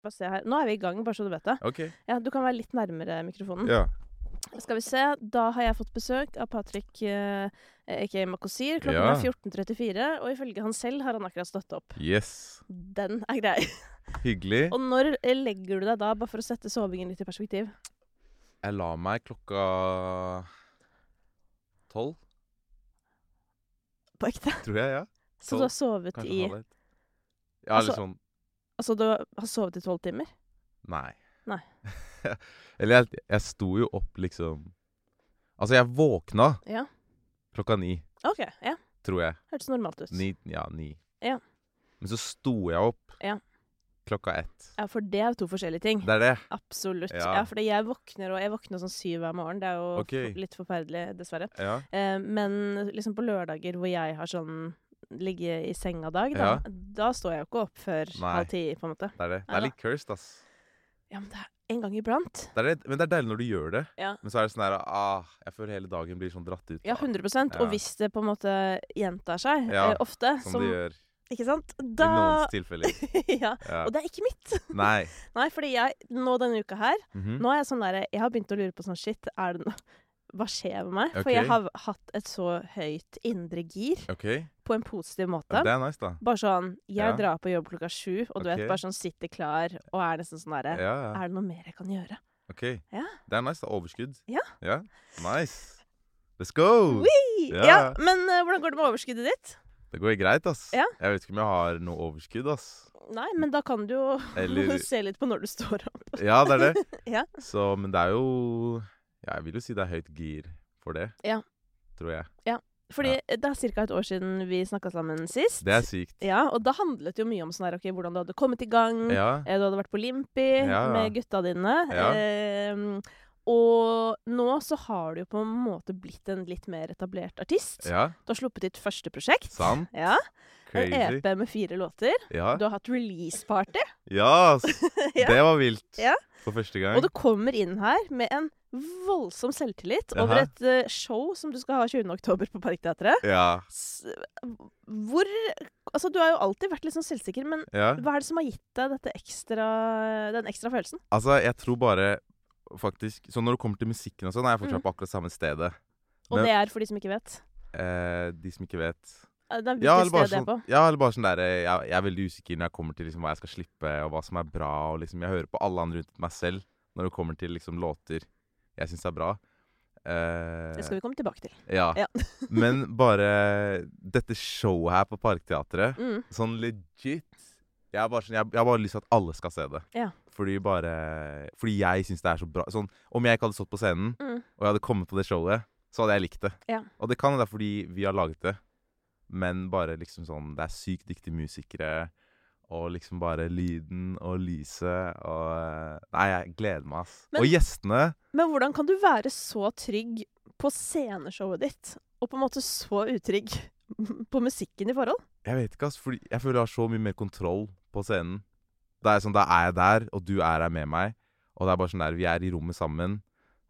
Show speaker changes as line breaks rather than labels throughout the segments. Bare se her. Nå er vi i gang, bare så du vet det.
OK.
Ja, du kan være litt nærmere mikrofonen.
Ja.
Skal vi se. Da har jeg fått besøk av Patrick eh, aka Makosir. Klokken
Ja.
er 14.34, og ifølge han selv har han akkurat stått opp.
Yes.
Den er grei.
Hyggelig.
Og når legger du deg da, bare for å sette sovingen litt i perspektiv?
Jeg la meg klokka tolv,
På ekte?
tror jeg. ja.
Så
Tolv,
du har sovet
Kanskje
i
halv ett. Ja,
Altså-
eller sånn
Altså du har sovet i tolv timer?
Nei.
Nei.
eller jeg, jeg sto jo opp liksom Altså, jeg våkna
Ja.
klokka ni,
OK. Ja.
tror jeg.
Hørtes normalt ut.
Ni, ja, ni.
Ja.
Men så sto jeg opp
Ja.
klokka ett.
Ja, for det er jo to forskjellige ting.
Det er det.
Absolutt. Ja,
Ja.
fordi jeg våkner, og jeg våkner sånn syv hver morgen. Det er jo
Ok.
f- litt forferdelig, dessverre.
Ja.
Eh, men liksom på lørdager hvor jeg har sånn ligge i senga dag, da, da står jeg jo ikke opp før
Nei.
halv ti, på en måte.
Det er det. Det
Neida.
er litt cursed, ass.
Ja, men det er en gang iblant.
Det er det, men det er deilig når du gjør det.
Ja.
Men så er det sånn her ah, Jeg føler hele dagen blir sånn dratt ut.
Ja,
da,
100
Ja.
Og hvis det på en måte gjentar seg
Ja,
eh, ofte,
som,
som,
det gjør
Ikke sant?
i
Da
noens tilfeller.
ja.
Ja.
Og det er ikke mitt.
Nei.
Nei, fordi jeg, nå denne uka her
Mhm.
Nå er jeg sånn der, jeg har begynt å lure på sånn shit, er det noe Hva skjer med meg? For
Ok.
jeg har hatt et så høyt indre gir,
OK.
på en positiv måte.
Ja, det er nice, da.
Bare sånn Jeg
Ja.
drar på jobb klokka sju, og du
Ok.
vet, bare sånn sitter klar og er nesten sånn derre
Ja, ja.
Er det noe mer jeg kan gjøre?
OK.
Ja.
Det er nice. da, Overskudd.
Ja.
ja. Nice. Let's go!
Ja,
Ja.
Men eh, hvordan går det med overskuddet ditt?
Det går greit, ass.
Ja.
Jeg vet ikke om jeg har noe overskudd, ass.
Nei, men da kan du jo
Eller
se litt på når du står opp.
Ja, det er det.
Ja.
Så, men det er jo ja, Jeg vil jo si det er høyt gir for det.
Ja.
Tror jeg.
Fordi det er ca. et år siden vi snakka sammen sist.
Det er sykt.
Ja, Og da handlet det jo mye om sånn her, ok, hvordan du hadde kommet i gang,
Ja.
Eh, Du hadde vært på Limpi
Ja, ja.
med gutta dine.
Ja.
ehm, og nå så har du jo på en måte blitt en litt mer etablert artist.
Ja.
Du har sluppet ditt første prosjekt.
Sant.
Ja, En
Crazy.
EP med fire låter.
Ja.
Du har hatt release-party.
Ja, ass.
Ja.
Det var vilt.
Ja.
For første gang.
Og du kommer inn her med en voldsom selvtillit
Jaha.
over et eh, show som du skal ha 20. oktober på Parkteatret.
Ja.
S- Hvor Altså, du har jo alltid vært litt sånn selvsikker, men
ja.
hva er det som har gitt deg dette ekstra, den ekstra følelsen?
Altså, jeg tror bare faktisk Så når det kommer til musikken og sånn, er jeg fortsatt
Mm.
på akkurat samme stedet.
Og
Men-
det er for de som ikke vet.
Eh, de som ikke vet.
Eh, Det er
Ja,
hvilket
eller bare
sted det er på.
sånn, ja, eller bare sånn der, eh, jeg, jeg er veldig usikker når jeg kommer til liksom, hva jeg skal slippe, og hva som er bra. Og liksom, jeg hører på alle andre rundt meg selv når det kommer til liksom, låter jeg syns er bra. Eh,
Det skal vi komme tilbake til.
ja.
ja.
Men bare dette showet her på Parkteatret
Mm.
Sånn legit Jeg har bare, sånn, jeg, jeg har bare lyst til at alle skal se det.
Ja.
Fordi bare Fordi jeg syns det er så bra. Sånn, om jeg ikke hadde stått på scenen,
Mm.
og jeg hadde kommet på det showet, så hadde jeg likt det.
Ja.
Og det kan være fordi vi har laget det, men bare liksom sånn Det er sykt dyktige musikere, og liksom bare lyden og lyset og eh, Nei, jeg gleder meg, ass.
Men-
og gjestene
Men hvordan kan du være så trygg på sceneshowet ditt, og på en måte så utrygg på musikken i forhold?
Jeg vet ikke, ass. Fordi jeg føler jeg har så mye mer kontroll på scenen. Det er sånn, Da er jeg der, og du er her med meg. Og det er bare sånn der Vi er i rommet sammen.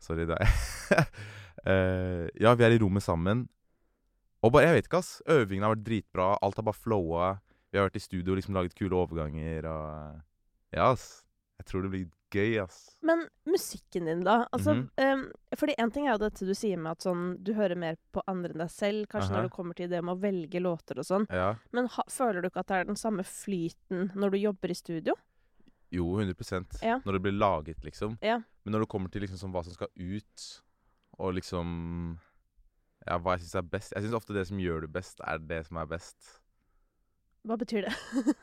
Sorry, det er Eh, Ja, vi er i rommet sammen. Og bare, jeg vet ikke, ass. Øvingen har vært dritbra. Alt har bare flowa. Vi har vært i studio og liksom laget kule overganger og Ja, ass. Jeg tror det blir gøy, ass.
Men musikken din, da? Altså,
Mhm.
em, fordi én ting er jo dette du sier med at sånn, du hører mer på andre enn deg selv, kanskje
Aha.
når det kommer til det med å velge låter og sånn,
Ja.
men ha, føler du ikke at det er den samme flyten når du jobber i studio?
Jo, 100
Ja.
Når det blir laget, liksom.
Ja.
Men når det kommer til liksom sånn hva som skal ut, og liksom Ja, hva jeg syns er best Jeg syns ofte det som gjør det best, er det som er best.
Hva betyr det?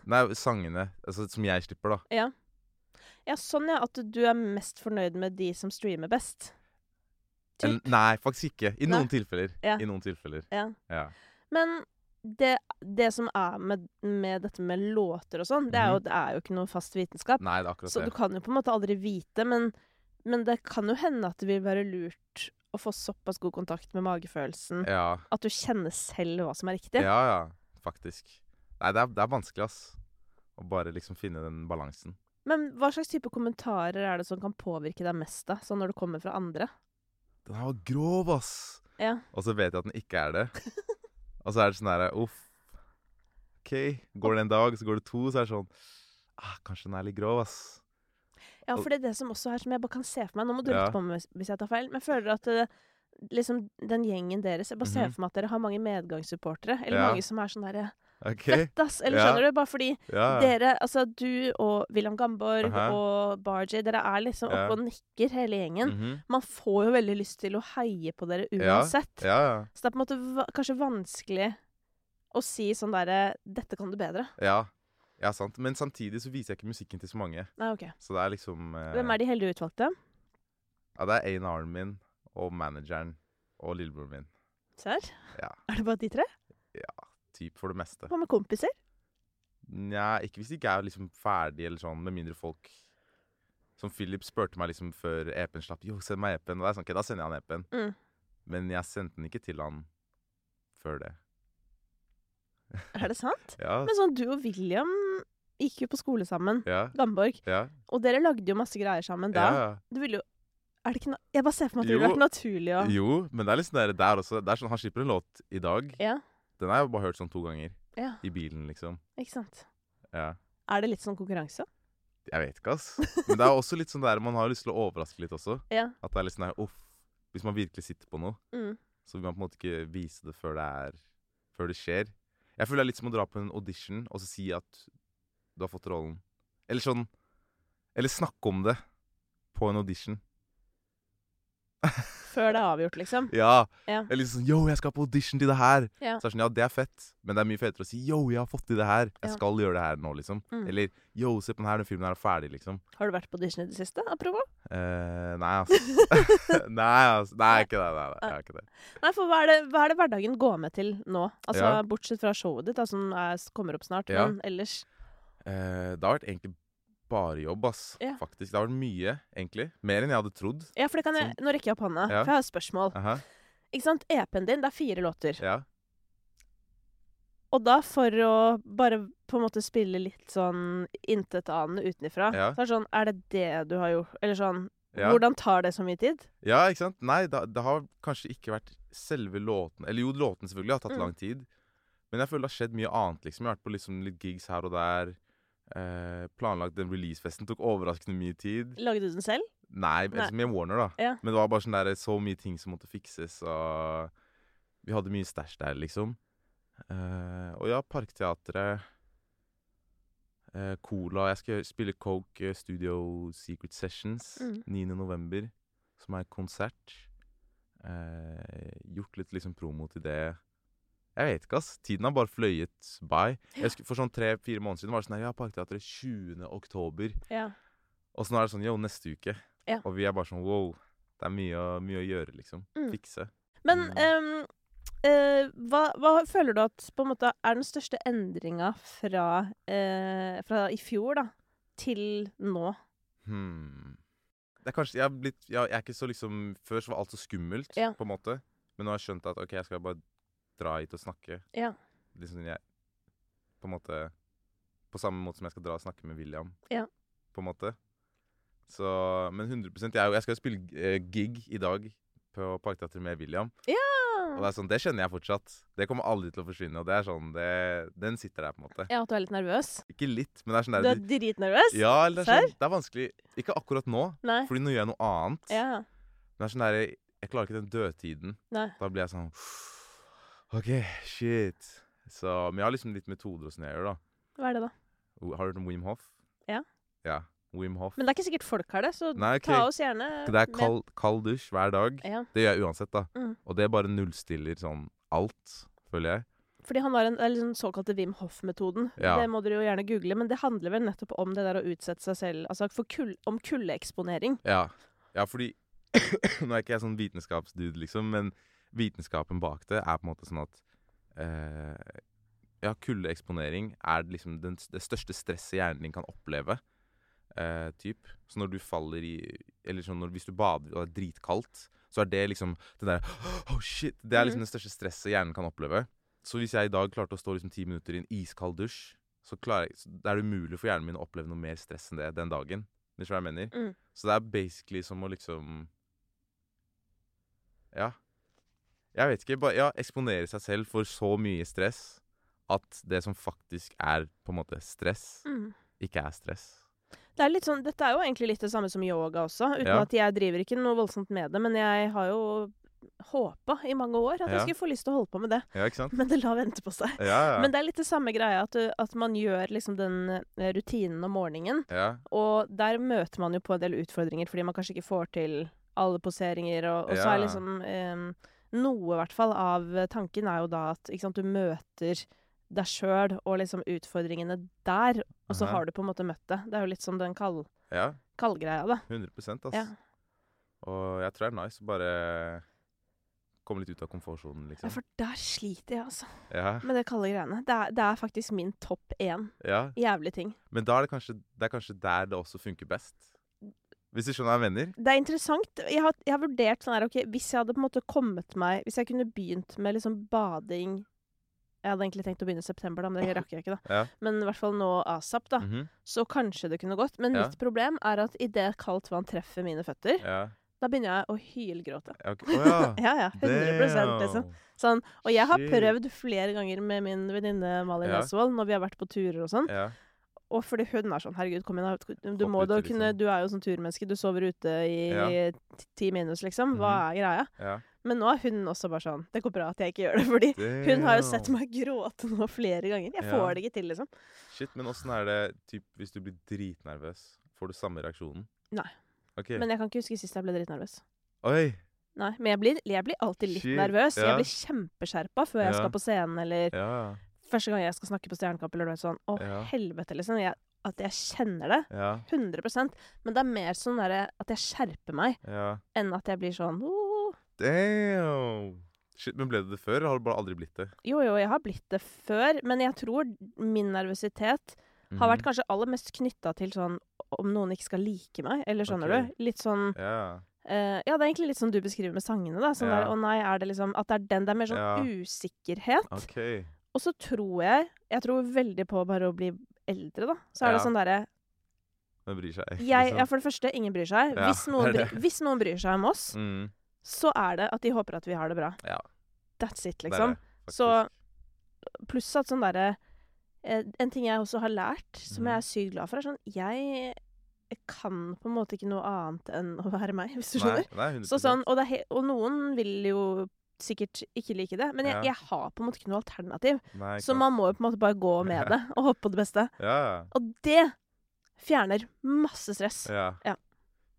Nei, sangene altså, som jeg slipper, da.
Ja, sånn ja, at du er mest fornøyd med de som streamer best. Typ.
En- nei, faktisk ikke. I
Nei.
noen tilfeller.
Ja.
I noen tilfeller.
Ja.
Ja.
Men det, det som er med, med dette med låter og sånn, det,
Mhm.
er jo- det er jo ikke noe fast vitenskap.
Nei, det er akkurat
så du
det.
kan jo på en måte aldri vite, men, men det kan jo hende at det vil være lurt å få såpass god kontakt med magefølelsen
Ja.
at du kjenner selv hva som er riktig.
ja, ja. Faktisk. Nei, det er, det er vanskelig, ass. Å bare liksom finne den balansen.
Men hva slags type kommentarer er det som kan påvirke deg mest, da? Sånn når det kommer fra andre?
Den her var grov, ass!
Ja.
Og så vet jeg at den ikke er det. Og så er det sånn her Uff. OK. Går det en dag, så går det to, så er det sånn ah, Kanskje den er litt grov, ass.
Ja, for det er det som også er som jeg bare kan se for meg Nå må du
Ja.
rette på meg hvis- hvis jeg tar feil, men jeg føler at eh, liksom den gjengen deres Jeg bare ser
Mhm.
for meg at dere har mange medgangssupportere, eller
Ja.
mange som er sånn derre
OK? Ja,
Fett, ass! Eller
Ja.
skjønner du? Bare fordi
ja.
dere, altså du og William Gamborg
Aha.
og Barjay, dere er liksom
Ja.
oppe og nikker hele gjengen.
Mhm.
Man får jo veldig lyst til å heie på dere
Ja.
uansett.
ja, ja.
Så det er på en måte va kanskje vanskelig å si sånn derre 'Dette kan du bedre'.
Ja. ja, sant. Men samtidig så viser jeg ikke musikken til så mange.
Nei, OK.
Så det er liksom eh,
Hvem er de heldige utvalgte?
Ja, det er A&R-en min og manageren og lillebroren min.
Serr?
Ja.
Er det bare de tre?
Typ for det meste.
Hva med kompiser?
Nja, ikke hvis de ikke er liksom ferdig eller sånn, med mindre folk Som Philip spurte meg liksom før EP-en slapp. Jo, send meg EP-en. Og da er jeg sånn, ok, da sender jeg han EP-en.
Mm.
Men jeg sendte den ikke til han før det.
Er det sant?
Ja,
Men sånn, du og William gikk jo på skole sammen.
ja,
Gamborg.
ja.
Og dere lagde jo masse greier sammen
ja,
da.
ja.
Du ville jo er det ikke na Jeg bare ser for meg at det
Jo.
ville vært naturlig å
Jo, men det er litt sånn der, der også. Det er sånn, Han slipper en låt i dag.
Ja.
Den har jeg bare hørt sånn to ganger.
Ja,
I bilen, liksom.
ikke sant.
Ja.
Er det litt sånn konkurranse?
Jeg vet ikke, ass. Men det er også litt sånn der man har lyst til å overraske litt også.
Ja.
At det er litt sånn der, uff. Hvis man virkelig sitter på noe,
Mm.
så vil man på en måte ikke vise det før det er Før det skjer. Jeg føler det er litt som å dra på en audition og så si at du har fått rollen. Eller sånn Eller snakke om det på en audition.
Før det er avgjort, liksom.
Ja.
Ja.
Eller liksom sånn Yo, jeg skal på audition til det her.
Ja.
Så er det sånn, ja, det er fett, men det er mye fetere å si yo, jeg har fått til det her.
Ja.
Jeg skal gjøre det her nå, liksom.
Mm.
Eller yo, se på den her, den filmen her er ferdig, liksom.
Har du vært på audition i det siste? Apropos.
Eh, nei, altså. nei, altså. Nei, ikke det. Nei, nei, jeg har ikke det.
Nei, for hva er, det, hva er det hverdagen går med til nå? Altså,
Ja.
Bortsett fra showet ditt, da, som er, kommer opp snart,
Ja.
men ellers
Eh, det har vært egentlig bare jobb, ass.
Ja.
Faktisk. Det har vært mye, egentlig. Mer enn jeg hadde trodd.
Ja, for det kan jeg, Nå rekker jeg opp hånda,
Ja.
for jeg har et spørsmål.
Aha,
Ikke sant, EP-en din, det er fire låter.
ja.
Og da, for å bare på en måte spille litt sånn intetanende utenifra,
Ja.
så er det sånn Er det det du har gjort? Eller sånn
Ja.
Hvordan tar det så mye tid?
ja, ikke sant? Nei, det, det har kanskje ikke vært selve låten Eller jo, låten selvfølgelig har tatt
Mm.
lang tid. Men jeg føler det har skjedd mye annet, liksom. Jeg har vært på liksom litt gigs her og der. Eh, planlagt den releasefesten tok overraskende mye tid.
Lagde du den selv?
Nei,
Nei.
altså med Warner, da.
Ja.
Men det var bare sånn der, så mye ting som måtte fikses, og vi hadde mye stæsj der, liksom. Eh, og ja, Parkteatret, eh, Cola Jeg skal spille Coke eh, Studio Secret Sessions
Mm.
9. november, som er konsert. Eh, gjort litt liksom promo til det. Jeg vet ikke, ass. Tiden har bare fløyet by. Jeg husker, for sånn tre-fire måneder siden var det sånn her, ja, Parkteatret 20. oktober.
Ja.
Og så nå er det sånn, jo, neste uke.
Ja.
Og vi er bare sånn, wow, det er mye, å- mye å gjøre, liksom.
Mm.
Fikse.
Men
Mm.
ehm, eh, hva, hva føler du at på en måte er den største endringa fra, eh, fra i fjor da, til nå?
Hmm. Det er kanskje, jeg har blitt, jeg, jeg er ikke så liksom, før så var alt så skummelt,
Ja.
på en måte. Men nå har jeg skjønt at, ok, jeg skal bare dra hit og snakke.
Ja.
Liksom, jeg, på en måte, på samme måte som jeg skal dra og snakke med William.
Ja.
På en måte. Så, men 100%, jeg, er jo- jeg skal jo spille eh, gig i dag på Parkteatret med William.
Mm.
Og det er sånn, det kjenner jeg fortsatt. Det kommer aldri til å forsvinne. Og det er sånn, det, den sitter der, på en måte.
Ja, at du er litt nervøs?
Ikke litt, men det er
Du
sånn der
er dritnervøs?
Ja, eller det er, sånn, det er vanskelig. Ikke akkurat nå,
Nei?
fordi nå gjør jeg noe annet.
Ja.
Men det er sånn der, jeg, jeg klarer ikke den dødtiden.
Nei.
Da blir jeg sånn OK, shit. Så, men jeg har liksom litt metoder og sånn jeg gjør, da.
Hva er det, da?
O- Har du hørt om Wim Hof?
Ja.
Ja, Wim Hof.
Men det er ikke sikkert folk har det, så
Nei, ok.
ta oss gjerne
Det er kald, kald dusj hver dag.
med. Ja.
Det gjør jeg uansett, da.
Mm.
Og det bare nullstiller sånn alt, føler jeg.
Fordi han har en, eller den såkalte Wim Hof-metoden.
Ja.
Det må dere jo gjerne google, men det handler vel nettopp om det der å utsette seg selv Altså for kull- om kuldeeksponering.
Ja, ja fordi Nå er ikke jeg sånn vitenskapsdude, liksom, men vitenskapen bak det er på en måte sånn at eh, Ja, kuldeeksponering er liksom den, det største stresset hjernen din kan oppleve. Eh, typ. Så når du faller i Eller sånn når, hvis du bader og det er dritkaldt, så er det liksom det der Oh shit! Det er liksom
Mhm.
det største stresset hjernen kan oppleve. Så hvis jeg i dag klarte å stå liksom ti minutter i en iskald dusj, så klarer jeg, så det er det umulig for hjernen min å oppleve noe mer stress enn det den dagen. Hvis du skjønner hva jeg mener?
Mm.
Så det er basically som å liksom Ja. Jeg vet ikke. Bare ja, eksponere seg selv for så mye stress at det som faktisk er på en måte stress,
Mm.
ikke er stress.
Det er litt sånn, dette er jo egentlig litt det samme som yoga også, uten
Ja.
at jeg driver ikke noe voldsomt med det, men jeg har jo håpa i mange år at
Ja.
jeg skulle få lyst til å holde på med det,
Ja, ikke sant?
men det la vente på seg.
Ja, ja.
Men det er litt det samme greia, at, du, at man gjør liksom den eh, rutinen om morgenen,
ja.
og der møter man jo på en del utfordringer, fordi man kanskje ikke får til alle poseringer, og, og så
Ja.
er liksom eh, noe, i hvert fall, av eh, tanken er jo da at ikke sant, du møter deg sjøl og liksom utfordringene der, og så
Aha.
har du på en måte møtt det. Det er jo litt som den kald
ja.
kaldgreia, da.
100 ass.
Ja.
Og jeg tror det er nice å bare komme litt ut av komfortsonen,
Ja,
liksom.
for der sliter jeg, altså.
Ja,
Med det kalde greiene. Det er, det er faktisk min topp én
ja.
jævlig ting.
Men da er det, kanskje, det er kanskje der det også funker best. Hvis du skjønner hva jeg mener?
Det er interessant. Jeg har, jeg har vurdert sånn her, ok, hvis jeg hadde på en måte kommet meg Hvis jeg kunne begynt med liksom bading Jeg hadde egentlig tenkt å begynne i september, da, men det rakk jeg ikke, da.
Ja.
Men i hvert fall nå asap, da.
Mhm.
Så kanskje det kunne gått. Men
Ja.
mitt problem er at idet kaldt vann treffer mine føtter,
Ja.
da begynner jeg å hylgråte.
ja, ok. Å ja.
Ja, ja. 100 liksom.
Damn.
Sånn, og jeg har
Shit.
prøvd flere ganger med min venninne Malin
Ja.
Nesvold når vi har vært på turer og sånn.
Ja.
Og fordi hun er sånn Herregud, kom igjen, da. Du,
Hopp
må
uti,
da
liksom.
kunne Du er jo sånn turmenneske. Du sover ute i
Ja. Mhm.
ti- ti minus, liksom. Hva er greia?
Ja.
Men nå er hun også bare sånn Det går bra at jeg ikke gjør det, fordi hun har jo sett meg gråte nå flere ganger. Jeg
Ja.
får det ikke til, liksom.
Shit, men åssen er det typ, hvis du blir dritnervøs? Får du samme reaksjonen?
Nei.
Ok.
Men jeg kan ikke huske sist jeg ble dritnervøs.
Oi!
Nei, men jeg blir, jeg blir alltid litt
Shit,
nervøs.
ja.
Jeg blir kjempeskjerpa før jeg
Ja.
skal på scenen, eller
Ja,
første gang jeg skal snakke på Stjernekamp, eller noe sånt. Å,
Ja.
helvete, liksom. Jeg, at jeg kjenner det.
ja,
100 Men det er mer sånn derre at jeg skjerper meg,
ja.
enn at jeg blir sånn «Åh».
Damn! Shit, men ble det det før, eller har du bare aldri blitt det?
Jo, jo, jeg har blitt det før, men jeg tror min nervøsitet har
Mhm.
vært kanskje aller mest knytta til sånn om noen ikke skal like meg, eller skjønner
Ok.
du? Litt sånn
Ja.
eh, Ja, det er egentlig litt sånn du beskriver med sangene, da. Sånn
Ja.
der, å nei, er det liksom At det er den. Det er mer sånn
Ja.
usikkerhet.
OK.
Og så tror jeg Jeg tror veldig på bare å bli eldre, da. Så er det
Ja.
sånn derre
Men bryr seg ikke,
jeg- ja,
liksom.
For det første, ingen bryr seg.
Ja,
hvis, noen
det er
bryr, hvis noen bryr seg om oss,
Mm,
så er det at de håper at vi har det bra.
Ja.
That's it,
det er
liksom.
det, faktisk.
Så- Pluss at sånn derre eh, En ting jeg også har lært, som
Mhm.
jeg er sykt glad for, er sånn Jeg kan på en måte ikke noe annet enn å være meg, hvis du skjønner.
Nei, nei, 100
Så sånn, og, det er he og noen vil jo sikkert ikke like det, men jeg,
Ja.
jeg har på en måte ikke noe alternativ.
Nei, ikke
Så man må jo på en måte bare gå med det, og håpe på det beste.
sant. Ja.
Og det fjerner masse stress.
Ja.
Ja.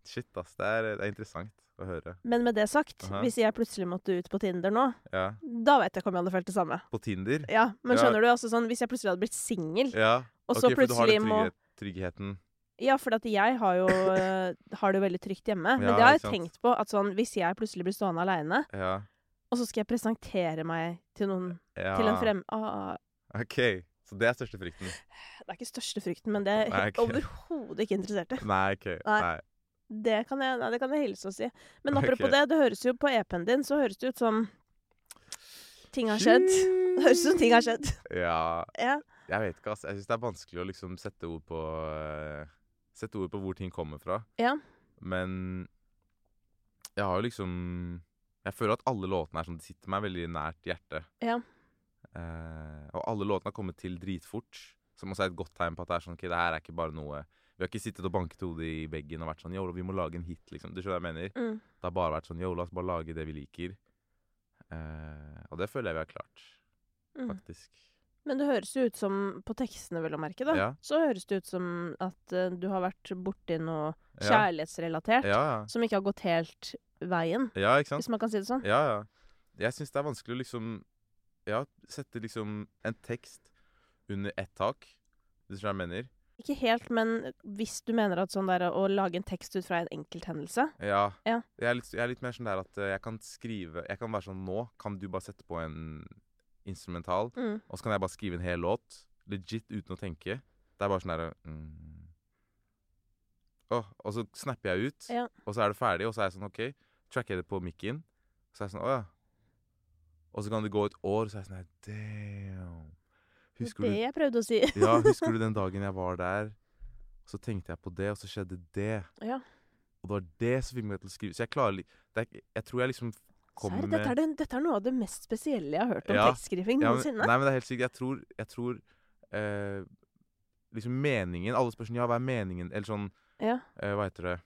Shit, ass. Det er, det er interessant å høre.
Men med det sagt,
Aha.
hvis jeg plutselig måtte ut på Tinder nå,
Ja.
da vet jeg ikke om jeg hadde følt det samme.
På Tinder
Ja, men
Ja.
skjønner du, altså sånn, hvis jeg plutselig hadde blitt singel,
Ja.
og så
ok, for du har
plutselig
den
må
trygghet, tryggheten.
Ja, for at jeg har jo, eh, har det jo veldig trygt hjemme. Men
Ja,
det har jeg
ikke sant.
tenkt på, at sånn, hvis jeg plutselig blir stående aleine,
Ja.
og så skal jeg presentere meg til noen
ja.
Til en frem... Ah,
OK. Så det er største frykten.
det er ikke største frykten, men det er
Nei,
he-
ok.
overhodet ikke interessert i.
Nei, OK.
Nei.
Nei.
Det kan jeg, nei, det kan jeg hilse og si. Men apropos
Ok.
det, det høres jo på EP-en din, så høres det ut som ting har skjedd. Det høres ut som ting har skjedd.
Ja.
Ja.
Jeg vet ikke, ass. Jeg syns det er vanskelig å liksom sette ord på eh, Sette ord på hvor ting kommer fra.
Ja.
Men jeg har jo liksom Jeg føler at alle låtene er sånn, de sitter meg veldig nært hjertet.
Ja.
Eh, og alle låtene har kommet til dritfort, som også er et godt tegn på at det er sånn Ok, det her er ikke bare noe Vi har ikke sittet og banket hodet i veggen og vært sånn Yo, vi må lage en hit, liksom. Du skjønner hva jeg mener?
Mm.
Det har bare vært sånn Yo, la oss bare lage det vi liker. Eh, og det føler jeg vi har klart,
Mm.
faktisk.
Men det høres jo ut som, på tekstene vel å merke, da,
Ja.
så høres det ut som at eh, du har vært borti noe
Ja.
kjærlighetsrelatert
Ja,
som ikke har gått helt veien,
ja. ja ikke sant?
hvis man kan si det sånn.
Ja, ja. Jeg syns det er vanskelig å liksom Ja, sette liksom en tekst under ett tak. Hvis du skjønner hva jeg mener?
Ikke helt, men hvis du mener at sånn der å lage en tekst ut fra en enkelthendelse
Ja.
Ja.
Jeg, er litt, jeg er litt mer sånn der at eh, jeg kan skrive Jeg kan være sånn Nå kan du bare sette på en instrumental,
mm.
og så kan jeg bare skrive en hel låt. Legit uten å tenke. Det er bare sånn derre mm. Åh, Og så snapper jeg ut,
Ja.
og så er det ferdig, og så er jeg sånn OK. Tracker jeg det på mikken, så er jeg sånn Å ja. Og så kan det gå et år, og så er jeg sånn her Damn. Husker
Det
du,
jeg prøvde å si.
ja, husker du den dagen jeg var der? Og så tenkte jeg på det, og så skjedde det.
Ja.
Og det var det som fikk meg til å skrive. Så jeg klarer li- det er, Jeg tror jeg liksom kommer
Serr, dette, er
med
den- dette er noe av det mest spesielle jeg har hørt om
Ja.
tekstskriving
ja, men,
noensinne.
Nei, men det er helt sykt. Jeg tror, jeg tror eh, liksom meningen Alle spør sånn Ja, hva er meningen? Eller sånn
Ja.
eh, Hva heter det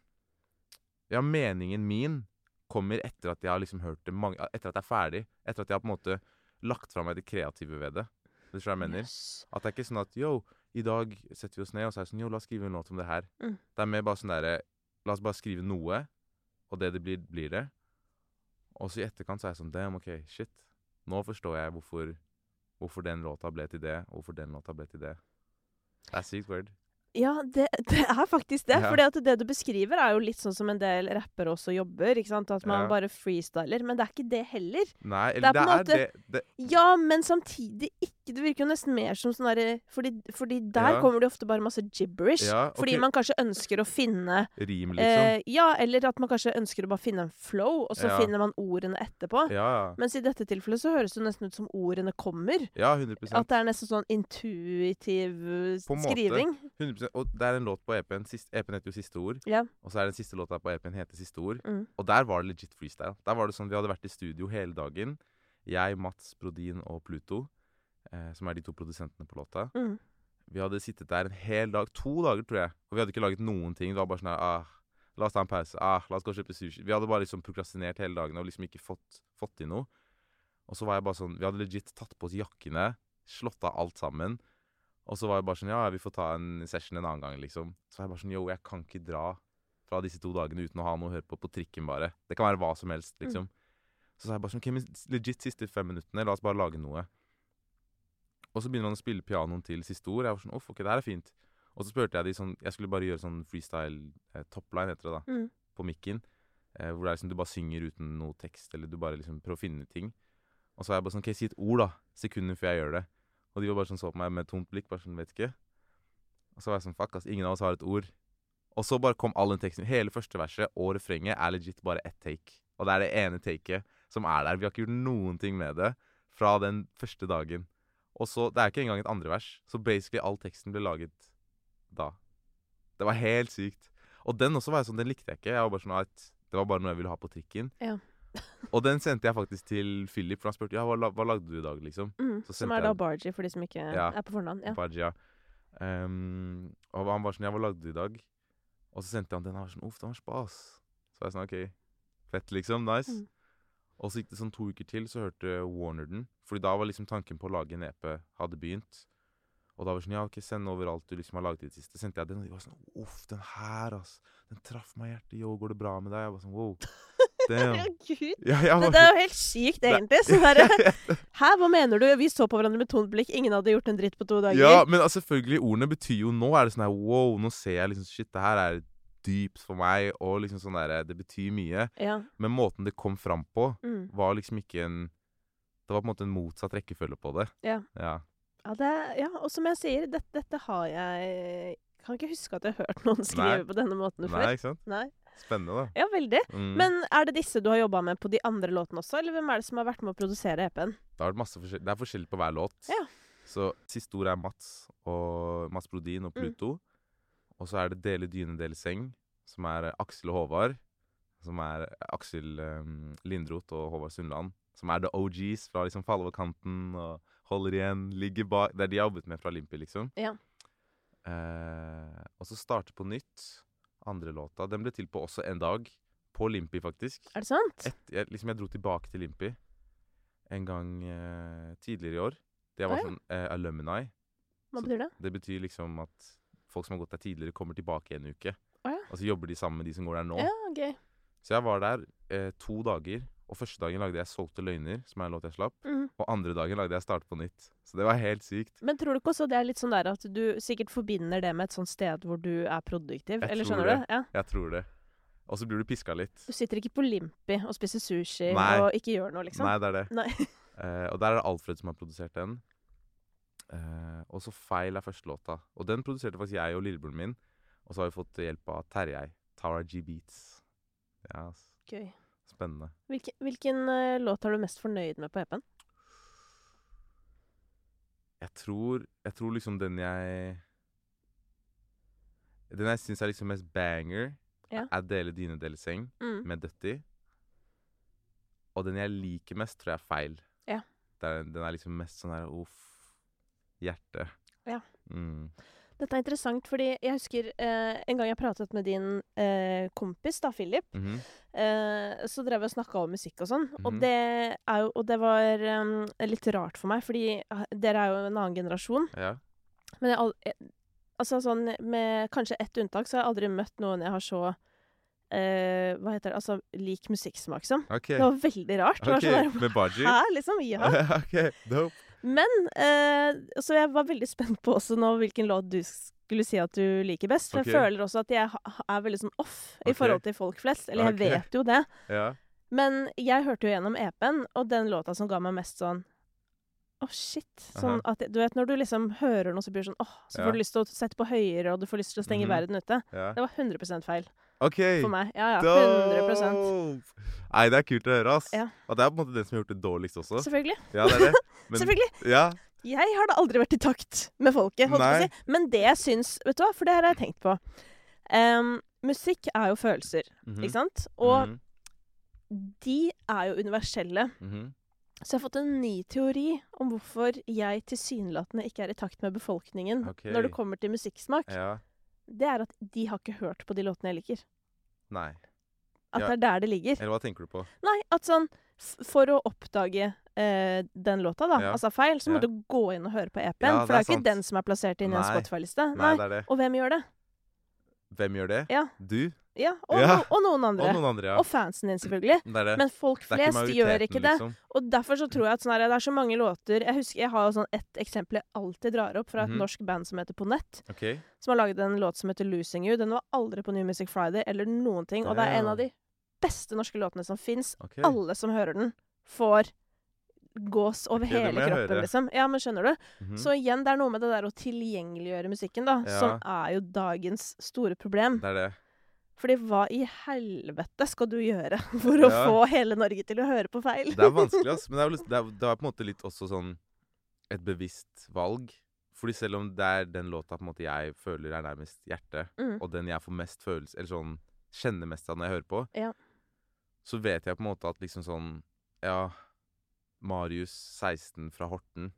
Ja, meningen min kommer etter at jeg har liksom hørt det mange Etter at jeg er ferdig. Etter at jeg har på en måte lagt fra meg det kreative ved det. Det tror jeg jeg mener.
Yes.
At det er ikke sånn at Yo, i dag setter vi oss ned og så er det sånn Yo, la oss skrive en låt om det her.
Mm.
Det er mer bare sånn derre La oss bare skrive noe, og det det blir, blir det. Og så i etterkant så er jeg sånn Damn, OK, shit. Nå forstår jeg hvorfor, hvorfor den låta ble til det, og hvorfor den låta ble til det. Det er sykt weird.
Ja, det, det er faktisk det.
Ja.
For det du beskriver, er jo litt sånn som en del rappere også jobber. ikke sant? At man
Ja.
bare freestyler. Men det er ikke det heller.
Nei, eller
Det er på
det
en
er, det er det,
Ja, men samtidig ikke. Det virker jo nesten mer som sånn derre fordi, fordi der
Ja.
kommer det jo ofte bare masse gibberish.
Ja, ok.
Fordi man kanskje ønsker å finne
Rim, liksom.
eh, Ja, eller at man kanskje ønsker å bare finne en flow, og så
Ja.
finner man ordene etterpå.
ja, ja.
Mens i dette tilfellet så høres det nesten ut som ordene kommer.
Ja, 100
At det er nesten sånn intuitiv eh,
På en måte.
skriving.
100 Og det er en låt på EP-en. sist- EP-en heter jo Siste ord.
Ja.
Og så er den siste låta på EP-en heter Siste ord.
Mm.
Og der var det legit freestyle. Der var det sånn Vi hadde vært i studio hele dagen. Jeg, Mats, Brodin og Pluto, eh, som er de to produsentene på låta.
Mm.
Vi hadde sittet der en hel dag, to dager tror jeg, og vi hadde ikke laget noen ting. Det var bare sånn her ah, La oss ta en pause. Ah, la oss gå og kjøpe sushi. Vi hadde bare liksom prokrastinert hele dagen og liksom ikke fått, fått til noe. Og så var jeg bare sånn Vi hadde legit tatt på oss jakkene, slått av alt sammen. Og så var jeg bare sånn Ja, vi får ta en session en annen gang, liksom. Så var jeg bare sånn Yo, jeg kan ikke dra fra disse to dagene uten å ha noe å høre på på trikken, bare. Det kan være hva som helst, liksom. Så sa jeg bare sånn OK, men legit siste fem minuttene, la oss bare lage noe. Og så begynner man å spille pianoen til siste ord. Jeg var sånn Uff, OK, det her er fint. Og så spurte jeg de sånn Jeg skulle bare gjøre sånn freestyle eh, topline, heter det da,
Mm.
på mikken. Eh, hvor det er liksom du bare synger uten noe tekst, eller du bare liksom prøver å finne ting. Og så var jeg bare sånn OK, si et ord, da. Sekunder før jeg gjør det. Og de var bare sånn så på meg med et tomt blikk, bare sånn Vet ikke. Og så var jeg sånn Fuck, ass, ingen av oss har et ord. Og så bare kom all den teksten. Hele første verset og refrenget er legit bare ett take. Og det er det ene taket som er der. Vi har ikke gjort noen ting med det fra den første dagen. Og så, Det er ikke engang et andre vers. Så basically all teksten ble laget da. Det var helt sykt. Og den også var jeg sånn, den likte jeg ikke. Jeg var bare sånn at Det var bare noe jeg ville ha på trikken.
Ja.
og den sendte jeg faktisk til Philip, for han spurte ja, hva, la- hva lagde du i dag. liksom?
Mm.
Så
Som
sendte
er da
jeg-
Barji, for de som ikke
Ja.
er på fornavn. Ja.
Bajia. Ehm, og han var sånn, ja, hva lagde du i dag? Og så sendte han den, og han var sånn, uff, den var spas. Så var jeg sånn, ok, fett liksom, nice.
Mm.
Og så gikk det sånn to uker til, så hørte Warner den. Fordi da var liksom tanken på å lage en EP hadde begynt. Og da var det sånn, ja, ok, send over alt du liksom har laget i det siste. Sendte jeg den, og de var sånn, uff, den her, ass. Den traff meg i hjertet, jo, går det bra med deg? Jeg var sånn, wow,
Ja,
damn.
gud.
Ja, jeg
Det,
var
det
sånn,
er jo helt sykt, egentlig. Sånn der, Hæ, hva mener du? Vi så på hverandre med tomt blikk. Ingen hadde gjort en dritt på to dager.
Ja, men altså, selvfølgelig, ordene betyr jo nå er det sånn her Wow, nå ser jeg liksom Shit, det her er dypt for meg, og liksom sånn der Det betyr mye.
Ja.
Men måten det kom fram på,
Mm.
var liksom ikke en Det var på en måte en motsatt rekkefølge på det.
Ja.
ja.
Ja, det, ja, og som jeg sier, dette, dette har jeg Kan ikke huske at jeg har hørt noen skrive på denne måten
Nei,
før.
ikke sant?
Nei.
Spennende, da.
Ja, veldig.
Mm.
Men er det disse du har jobba med på de andre låtene også, eller hvem er det som har vært med å produsere E EP-en?
Det, har vært masse forskjell- det er forskjellig på hver låt.
Ja.
Så siste ord er Mats og Mats Brodin og
Mm.
Pluto. Og så er det Dele dyne, dele seng, som er eh, Aksel og Håvard. Som er eh, Aksel um, Lindroth og Håvard Sundland. Som er the OGs fra liksom Falle over kanten og Holder igjen, ligger bak Det er de jeg har jobbet med fra Limpi, liksom.
Ja.
Eh, og så Starte på nytt, andre låta. Den ble til på også en dag. På Limpi, faktisk.
Er det sant?
Et, jeg, liksom jeg dro tilbake til Limpi en gang eh, tidligere i år. Det
Å,
var
ja.
sånn eh, alumni.
Hva betyr det?
Det betyr liksom at folk som har gått der tidligere, kommer tilbake en uke.
Å, ja.
Og så jobber de sammen med de som går der nå.
Ja, Ah, gøy.
Så jeg var der eh, to dager. Og første dagen lagde jeg 'Solgte løgner', som er en låt jeg slapp.
Mm.
Og andre dagen lagde jeg 'Start på nytt'. Så det var helt sykt.
Men tror du ikke også det er litt sånn der at du sikkert forbinder det med et sånt sted hvor du er produktiv?
Jeg
eller
tror
skjønner du? Ja.
Jeg tror det. Og så blir du piska litt.
Du sitter ikke på Limpi og spiser sushi
Nei.
og ikke gjør noe, liksom?
Nei, det er det.
Nei.
Eh, og der er det Alfred som har produsert den. Eh, og så Feil er første låta. Og den produserte faktisk jeg og lillebroren min. Og så har vi fått hjelp av Terjei. Tara G Beats. Ja, ass.
Gøy.
spennende.
Hvilken, hvilken eh, låt er du mest fornøyd med på E EP-en?
Jeg tror, jeg tror liksom den jeg Den jeg syns er liksom mest banger,
Ja.
er 'Dele dyne, dele seng'
Mm.
med Dutty. Og den jeg liker mest, tror jeg er feil.
Ja.
Det er- den er liksom mest sånn her uff. Hjerte.
Ja.
Mm.
Dette er interessant, fordi jeg husker eh, en gang jeg pratet med din eh, kompis, da, Philip.
Mhm.
Eh, så drev vi og snakka om musikk og sånn.
Mhm.
Og det er jo Og det var em, litt rart for meg, fordi eh, dere er jo en annen generasjon.
Ja.
Men jeg, al- jeg, altså sånn med kanskje ett unntak, så har jeg aldri møtt noen jeg har så eh, Hva heter det Altså lik musikksmak som.
OK.
Det var veldig rart. Det var
Ok,
sånn
Med Baji?
der, Hæ, liksom? Ja.
OK, dope.
Men eh, Så jeg var veldig spent på også nå hvilken låt du skulle si at du liker best. For
Ok.
jeg føler også at jeg ha- er veldig sånn off i
Ok.
forhold til folk flest. Eller jeg
Ok.
vet jo det.
Ja.
Men jeg hørte jo gjennom EP-en, og den låta som ga meg mest sånn Å, shit. Sånn at jeg- Du vet når du liksom hører noe, så blir det sånn Åh, så
Ja.
får du lyst til å sette på høyere, og du får lyst til å stenge
Mhm.
verden ute.
ja.
Det var 100 feil
OK.
for meg. Ja, ja. 100
Dope! Nei, det er kult å høre, ass.
Ja.
Og det er på en måte den som har gjort det dårligst også.
Selvfølgelig.
Ja, det er det. Men-
Selvfølgelig.
Ja,
Jeg har da aldri vært i takt med folket, holdt jeg på å
Nei.
si. Men det jeg syns Vet du hva, for det her har jeg tenkt på. Em, musikk er jo følelser,
Mhm,
ikke sant? Og
mhm,
de er jo universelle.
mhm.
Så jeg har fått en ny teori om hvorfor jeg tilsynelatende ikke er i takt med befolkningen
Ok.
når det kommer til musikksmak.
Ja.
Det er at de har ikke hørt på de låtene jeg liker.
Nei.
At
Ja.
det er der det ligger.
Eller hva tenker du på?
Nei, at sånn f- For å oppdage eh, den låta, da,
Ja.
altså feil, så må
Ja.
du gå inn og høre på EP-en.
Ja,
for det
det er
er jo
sant.
ikke den som er plassert inn i en
Nei.
Spotify-liste.
Nei,
Nei.
det er det.
Og hvem gjør det?
Hvem gjør det?
Ja.
Du?
Ja, og,
Ja.
No, og noen
Og
andre.
noen andre, ja.
Og fansen din, selvfølgelig.
Det er det.
Men folk
det er
flest gjør ikke
majoriteten,
det.
Liksom.
Og derfor så tror jeg at sånn her, det er så mange låter Jeg husker, jeg har jo sånn ett eksempel jeg alltid drar opp fra et
Mhm.
norsk band som heter På Nett.
Ok.
Som har laget en låt som heter 'Losing You'. Den var aldri på New Music Friday eller noen ting. Og det er en av de beste norske låtene som fins.
ok.
Alle som hører den, får gås over
Ok, det må
hele
jeg
kroppen,
høre.
liksom. Ja, men skjønner du?
Mhm.
Så igjen, det er noe med det der å tilgjengeliggjøre musikken, da.
Ja.
Som er jo dagens store problem.
Det er det.
Fordi hva i helvete skal du gjøre for å
Ja.
få hele Norge til å høre på feil?
Det er vanskelig, ass. Men det er, vel- det, er, det er på en måte litt også sånn et bevisst valg. Fordi selv om det er den låta på en måte jeg føler er nærmest hjertet,
Mm.
og den jeg får mest følelse Eller sånn kjenner mest av når jeg hører på,
Ja.
så vet jeg på en måte at liksom sånn Ja, Marius 16 fra Horten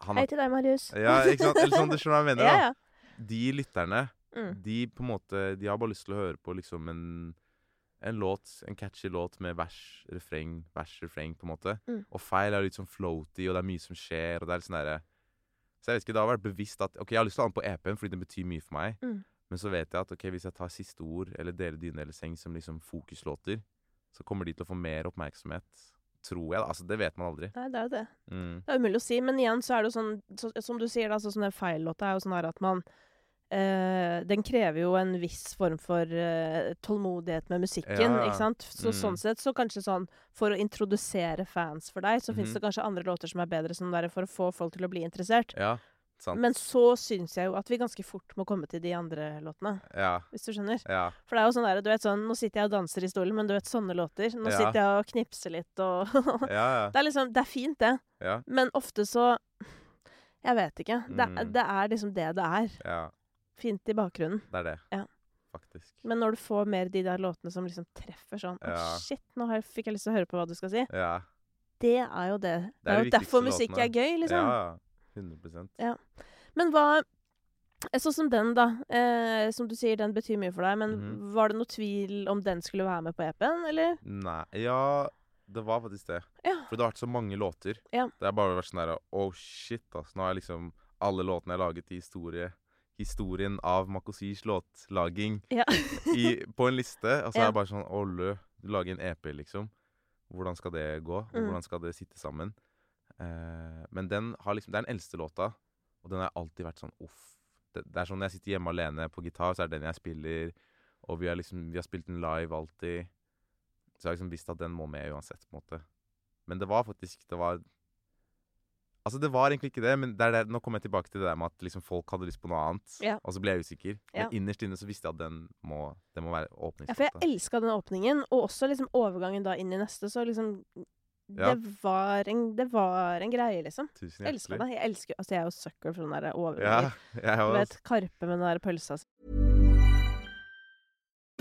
Han
Hei
er
til deg, Marius.
Ja, ikke sant? Eller sånn, du skjønner hva jeg mener,
Ja,
da.
ja.
De lytterne
Mm.
de på en måte De har bare lyst til å høre på liksom en en låt, en catchy låt med vers, refreng, vers, refreng, på en måte.
Mm.
Og feil er litt sånn floaty, og det er mye som skjer, og det er litt sånn derre Så jeg vet ikke, det har vært bevisst at OK, jeg har lyst til å ha den på EP-en fordi den betyr mye for meg,
Mm.
men så vet jeg at OK, hvis jeg tar siste ord eller deler dyne eller seng som liksom fokuslåter, så kommer de til å få mer oppmerksomhet, tror jeg, da. Altså, det vet man aldri.
Nei, det er jo det.
Mm.
Det er umulig å si. Men igjen så er det jo sånn, så, som du sier, da, så sånn den feillåta er jo sånn her at man eh, Den krever jo en viss form for eh, tålmodighet med musikken,
Ja, ja.
ikke sant? Så
Mm.
sånn sett, så kanskje sånn For å introdusere fans for deg, så
Mhm.
fins det kanskje andre låter som er bedre som der for å få folk til å bli interessert.
Ja, sant.
Men så syns jeg jo at vi ganske fort må komme til de andre låtene,
Ja,
hvis du skjønner.
ja.
For det er jo sånn der, du vet sånn Nå sitter jeg og danser i stolen, men du vet sånne låter. Nå
Ja.
sitter jeg og knipser litt og
Ja, ja.
Det er liksom, det er fint, det.
Ja.
Men ofte så Jeg vet ikke. Det,
Mm.
det er liksom det det er.
ja.
Fint i bakgrunnen.
Det er det.
Ja.
Faktisk.
Men når du får mer de der låtene som liksom treffer sånn Å,
Ja.
shit, nå har jeg, fikk jeg lyst til å høre på hva du skal si.
Ja.
Det er jo det. Det
de
er jo
viktigste
derfor musikk
låtene.
er gøy, liksom.
Ja, 100
Men hva Sånn som den, da. Eh, som du sier, den betyr mye for deg. Men
Mhm.
var det noe tvil om den skulle være med på EP-en, eller?
Nei Ja, det var faktisk det.
Ja.
For det har vært så mange låter.
Ja.
Det har bare vært sånn der Oh shit, ass. Nå har jeg liksom alle låtene jeg har laget i historie historien av Makosis låtlaging
Ja.
i, på en liste. Og så
Ja.
er det bare sånn Å, lø. Du lager en EP, liksom. Hvordan skal det gå? Og
Mm.
hvordan skal det sitte sammen? Eh, men den har liksom Det er den eldste låta, og den har alltid vært sånn uff. Det, det er sånn når jeg sitter hjemme alene på gitar, så er det den jeg spiller. Og vi har liksom Vi har spilt den live alltid. Så jeg har liksom visst at den må med uansett, på en måte. Men det var faktisk Det var Altså, det var egentlig ikke det, men det er det, nå kommer jeg tilbake til det der med at liksom folk hadde lyst på noe annet.
Ja.
Og så ble jeg usikker.
Ja.
Men innerst inne så visste jeg at den må, den må være
Ja, for jeg
åpningslåta.
elska den åpningen, og også liksom overgangen da inn i neste, så liksom
Ja.
det, var en, det var en greie, liksom.
Tusen
Jeg elska
hjertelig.
det. Jeg elsker Altså, jeg er jo sucker for den derre
Ja,
overgangen.
jeg
Du
var
vet, Karpe med den der pølsa si.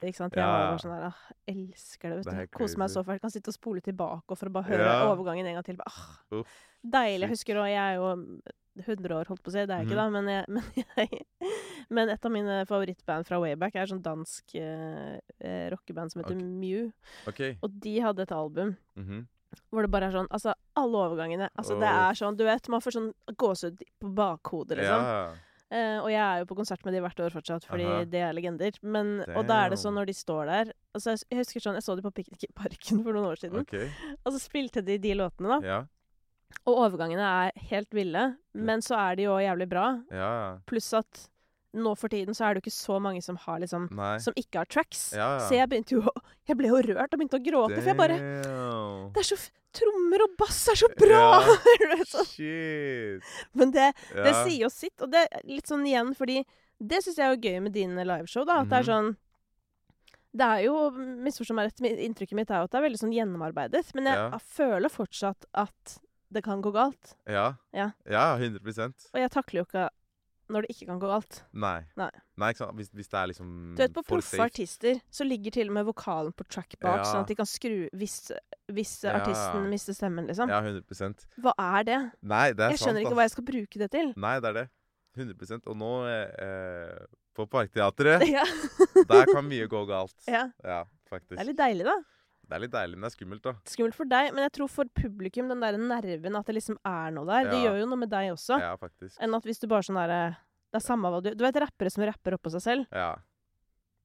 Ikke sant?
Ja,
Jeg var
ja.
bare sånn der, ah, elsker det.
Det er
vet
helt
du. Koser meg
crazy.
så fælt. Kan sitte og spole tilbake og for å bare høre
Ja.
overgangen en gang til. Bare, ah,
Uff,
deilig. Jeg
shit.
husker også, jeg er jo 100 år, holdt på å si. Det er jeg
Mhm.
ikke, da. Men, jeg, men, jeg, men et av mine favorittband fra Wayback er sånn dansk eh, eh, rockeband som heter
Ok.
Mew.
OK.
Og de hadde et album
mhm.
hvor det bare er sånn Altså, alle overgangene. Altså, det
Åh.
er sånn Du vet, man får sånn gåsehud på bakhodet, liksom.
Ja.
Eh, og jeg er jo på konsert med de hvert år fortsatt, fordi
Aha.
det er legender. Men, og da er det sånn
Damn.
når de står der altså, jeg, jeg husker sånn, jeg så de på Piknikparken for noen år siden,
OK.
og så spilte de de låtene, da.
Ja.
Og overgangene er helt ville, men så er de jo jævlig bra.
Ja.
Pluss at nå for tiden så er det jo ikke så mange som har liksom
Nei.
Som ikke har tracks.
Ja, ja.
Så jeg begynte jo å- Jeg ble jo rørt og begynte å gråte, for jeg bare
Damn.
Det er så f Trommer og bass er så bra!
Ja.
Du vet sånn.
Shit.
Men det, Det
Ja.
sier jo sitt, og det er litt sånn igjen, fordi det syns jeg er jo gøy med dine liveshow, da. At det er
Mhm.
sånn Det er jo Misforstå meg rett, men inntrykket mitt er jo at det er veldig sånn gjennomarbeidet. Men jeg
Ja.
føler fortsatt at det kan gå galt.
Ja.
Ja.
ja, 100
Og jeg takler jo ikke når det ikke kan gå galt.
Nei.
Nei.
ikke sant? Hvis, hvis det er liksom
Du vet, På
for
proffe
safe.
artister så ligger til og med vokalen på track bak,
Ja.
sånn at de kan skru hvis, hvis
Ja.
artisten mister stemmen, liksom.
Ja, 100
Hva er det?
Nei, det er
Jeg skjønner ikke hva jeg skal bruke det til.
Nei, det er det. 100 Og nå, eh, eh, på Parkteatret,
Ja.
der kan mye gå galt.
ja.
Ja, faktisk.
Det er litt deilig, da.
Det er litt deilig, men det er skummelt, da.
skummelt for deg, men jeg tror for publikum, den der nerven at det liksom er noe der, det
Ja.
gjør jo noe med deg også.
Ja, faktisk.
Enn at hvis du bare sånn derre Det er samme hva du Du vet rappere som rapper oppå seg selv.
Ja.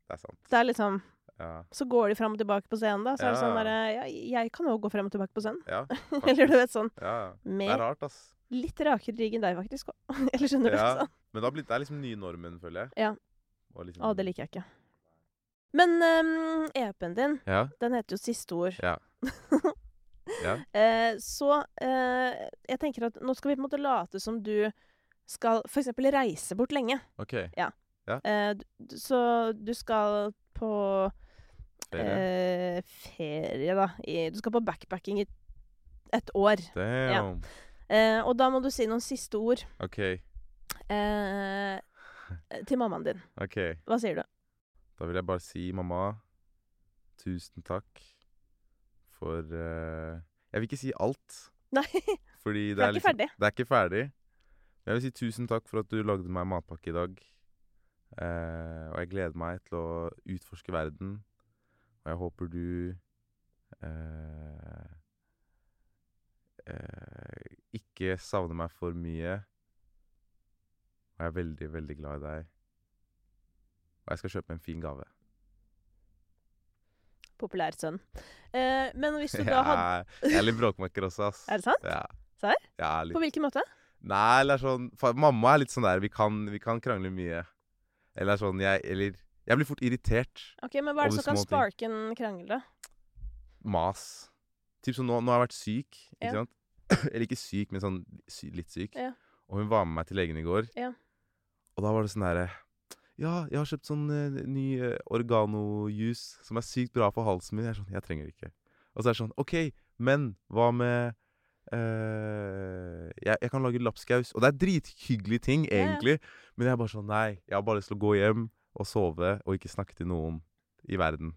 Det er sant.
Det er liksom
Ja,
Så går de fram og tilbake på scenen, da. Så er det
Ja.
sånn derre Ja, jeg kan òg gå frem og tilbake på scenen.
ja
Eller du
faktisk.
vet sånn
Ja, ja. Det er
Med
rart, ass.
litt rakere rygg enn deg, faktisk. også. Eller skjønner du?
Ja.
Sånn.
Men det, har blitt, det er liksom nye normen, føler jeg.
Ja.
Og liksom,
Å, det liker jeg ikke. Men ehm, EP-en din,
Ja.
den heter jo Siste ord.
Ja. Ja.
Eh, så eh, jeg tenker at nå skal vi på en måte late som du skal f.eks. reise bort lenge.
OK.
Eh, d- d- så du skal på
Ferie.
eh, ferie da. I, du skal på backpacking i et år.
Damn.
Eh, og da må du si noen siste ord
OK.
eh, til mammaen din.
OK.
Hva sier du?
Da vil jeg bare si, mamma, tusen takk for eh, Jeg vil ikke si alt,
Nei,
fordi det,
det er ikke
liksom,
ferdig.
det er ikke ferdig. Men Jeg vil si tusen takk for at du lagde meg matpakke i dag. Eh, og jeg gleder meg til å utforske verden. Og jeg håper du eh, eh, ikke savner meg for mye. Og jeg er veldig, veldig glad i deg. Og jeg skal kjøpe en fin gave.
Populær sønn. Eh, men hvis du da hadde
Ja, jeg er litt bråkmaker også, ass.
Er det sant?
Ja.
Serr?
Ja,
På
litt.
hvilken måte?
Nei, eller sånn fa- Mamma er litt sånn der Vi kan, vi kan krangle mye. Eller sånn jeg Eller Jeg blir fort irritert.
Ok, Men hva er det
Over
som kan
små ting.
sparke en krangel, da?
Mas. Typ som nå, nå har jeg vært syk, ikke
Ja.
sant? Eller ikke syk, men sånn sy litt syk.
Ja.
Og hun var med meg til legen i går.
Ja.
Og da var det sånn derre Ja, jeg har kjøpt sånn eh, ny eh, organojus som er sykt bra for halsen min. Jeg er sånn Jeg trenger ikke. Og så er det sånn OK, men hva med eh, jeg, jeg kan lage lapskaus. Og det er drithyggelige ting,
ja.
egentlig. Men jeg er bare sånn Nei, jeg har bare lyst til å gå hjem og sove og ikke snakke til noen i verden.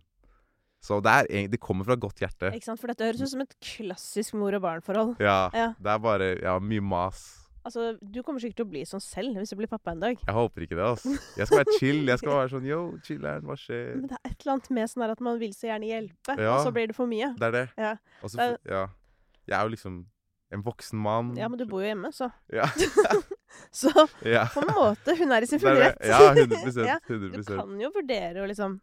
Så det, er, egent- det kommer fra godt hjerte.
Ikke sant? For dette høres ut som et klassisk mor og barn-forhold.
Ja,
Ja.
Det er bare ja, mye mas.
Altså, du kommer sikkert til å bli sånn selv hvis du blir pappa en dag.
Jeg håper ikke det, altså. Jeg skal være chill. Jeg skal være sånn yo, chiller'n, hva skjer?
Men det er et eller annet med sånn her at man vil så gjerne hjelpe,
Eh. Ja.
og så blir det for mye.
Det er det.
Ja.
Og så,
Det
ja. Jeg er jo liksom en voksen mann.
ja, men du bor jo hjemme, så
Ja.
Så
ja.
på en måte, hun er i sin
Det er
fulle
det.
rett.
Ja, 100
Ja, Du
100
kan jo vurdere å liksom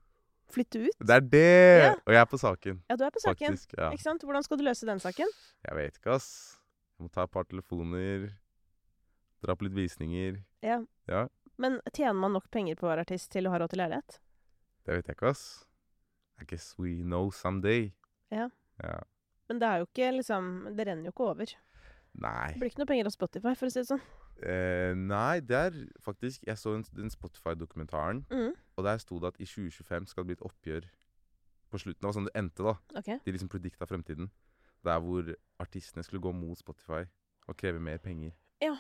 flytte ut.
Det er det!
Ja.
Og jeg er på saken,
Ja, du er på saken.
faktisk. Ja.
Ikke sant? Hvordan skal du løse den saken?
Jeg vet ikke, ass. Jeg må ta et par telefoner. Dra på litt visninger.
Ja.
Ja.
Men tjener man nok penger på å være artist til å ha råd til leilighet?
Det vet jeg ikke, ass. I guess we know someday.
Ja.
Ja.
Men det er jo ikke liksom Det renner jo ikke over.
Nei.
Det blir ikke noe penger av Spotify, for å si det sånn.
Eh, nei, det er faktisk Jeg så den, den Spotify-dokumentaren,
Mm.
og der sto det at i 2025 skal det bli et oppgjør på slutten. Det var sånn det endte, da.
OK.
De liksom predikta fremtiden. Der hvor artistene skulle gå mot Spotify og kreve mer penger
Ja.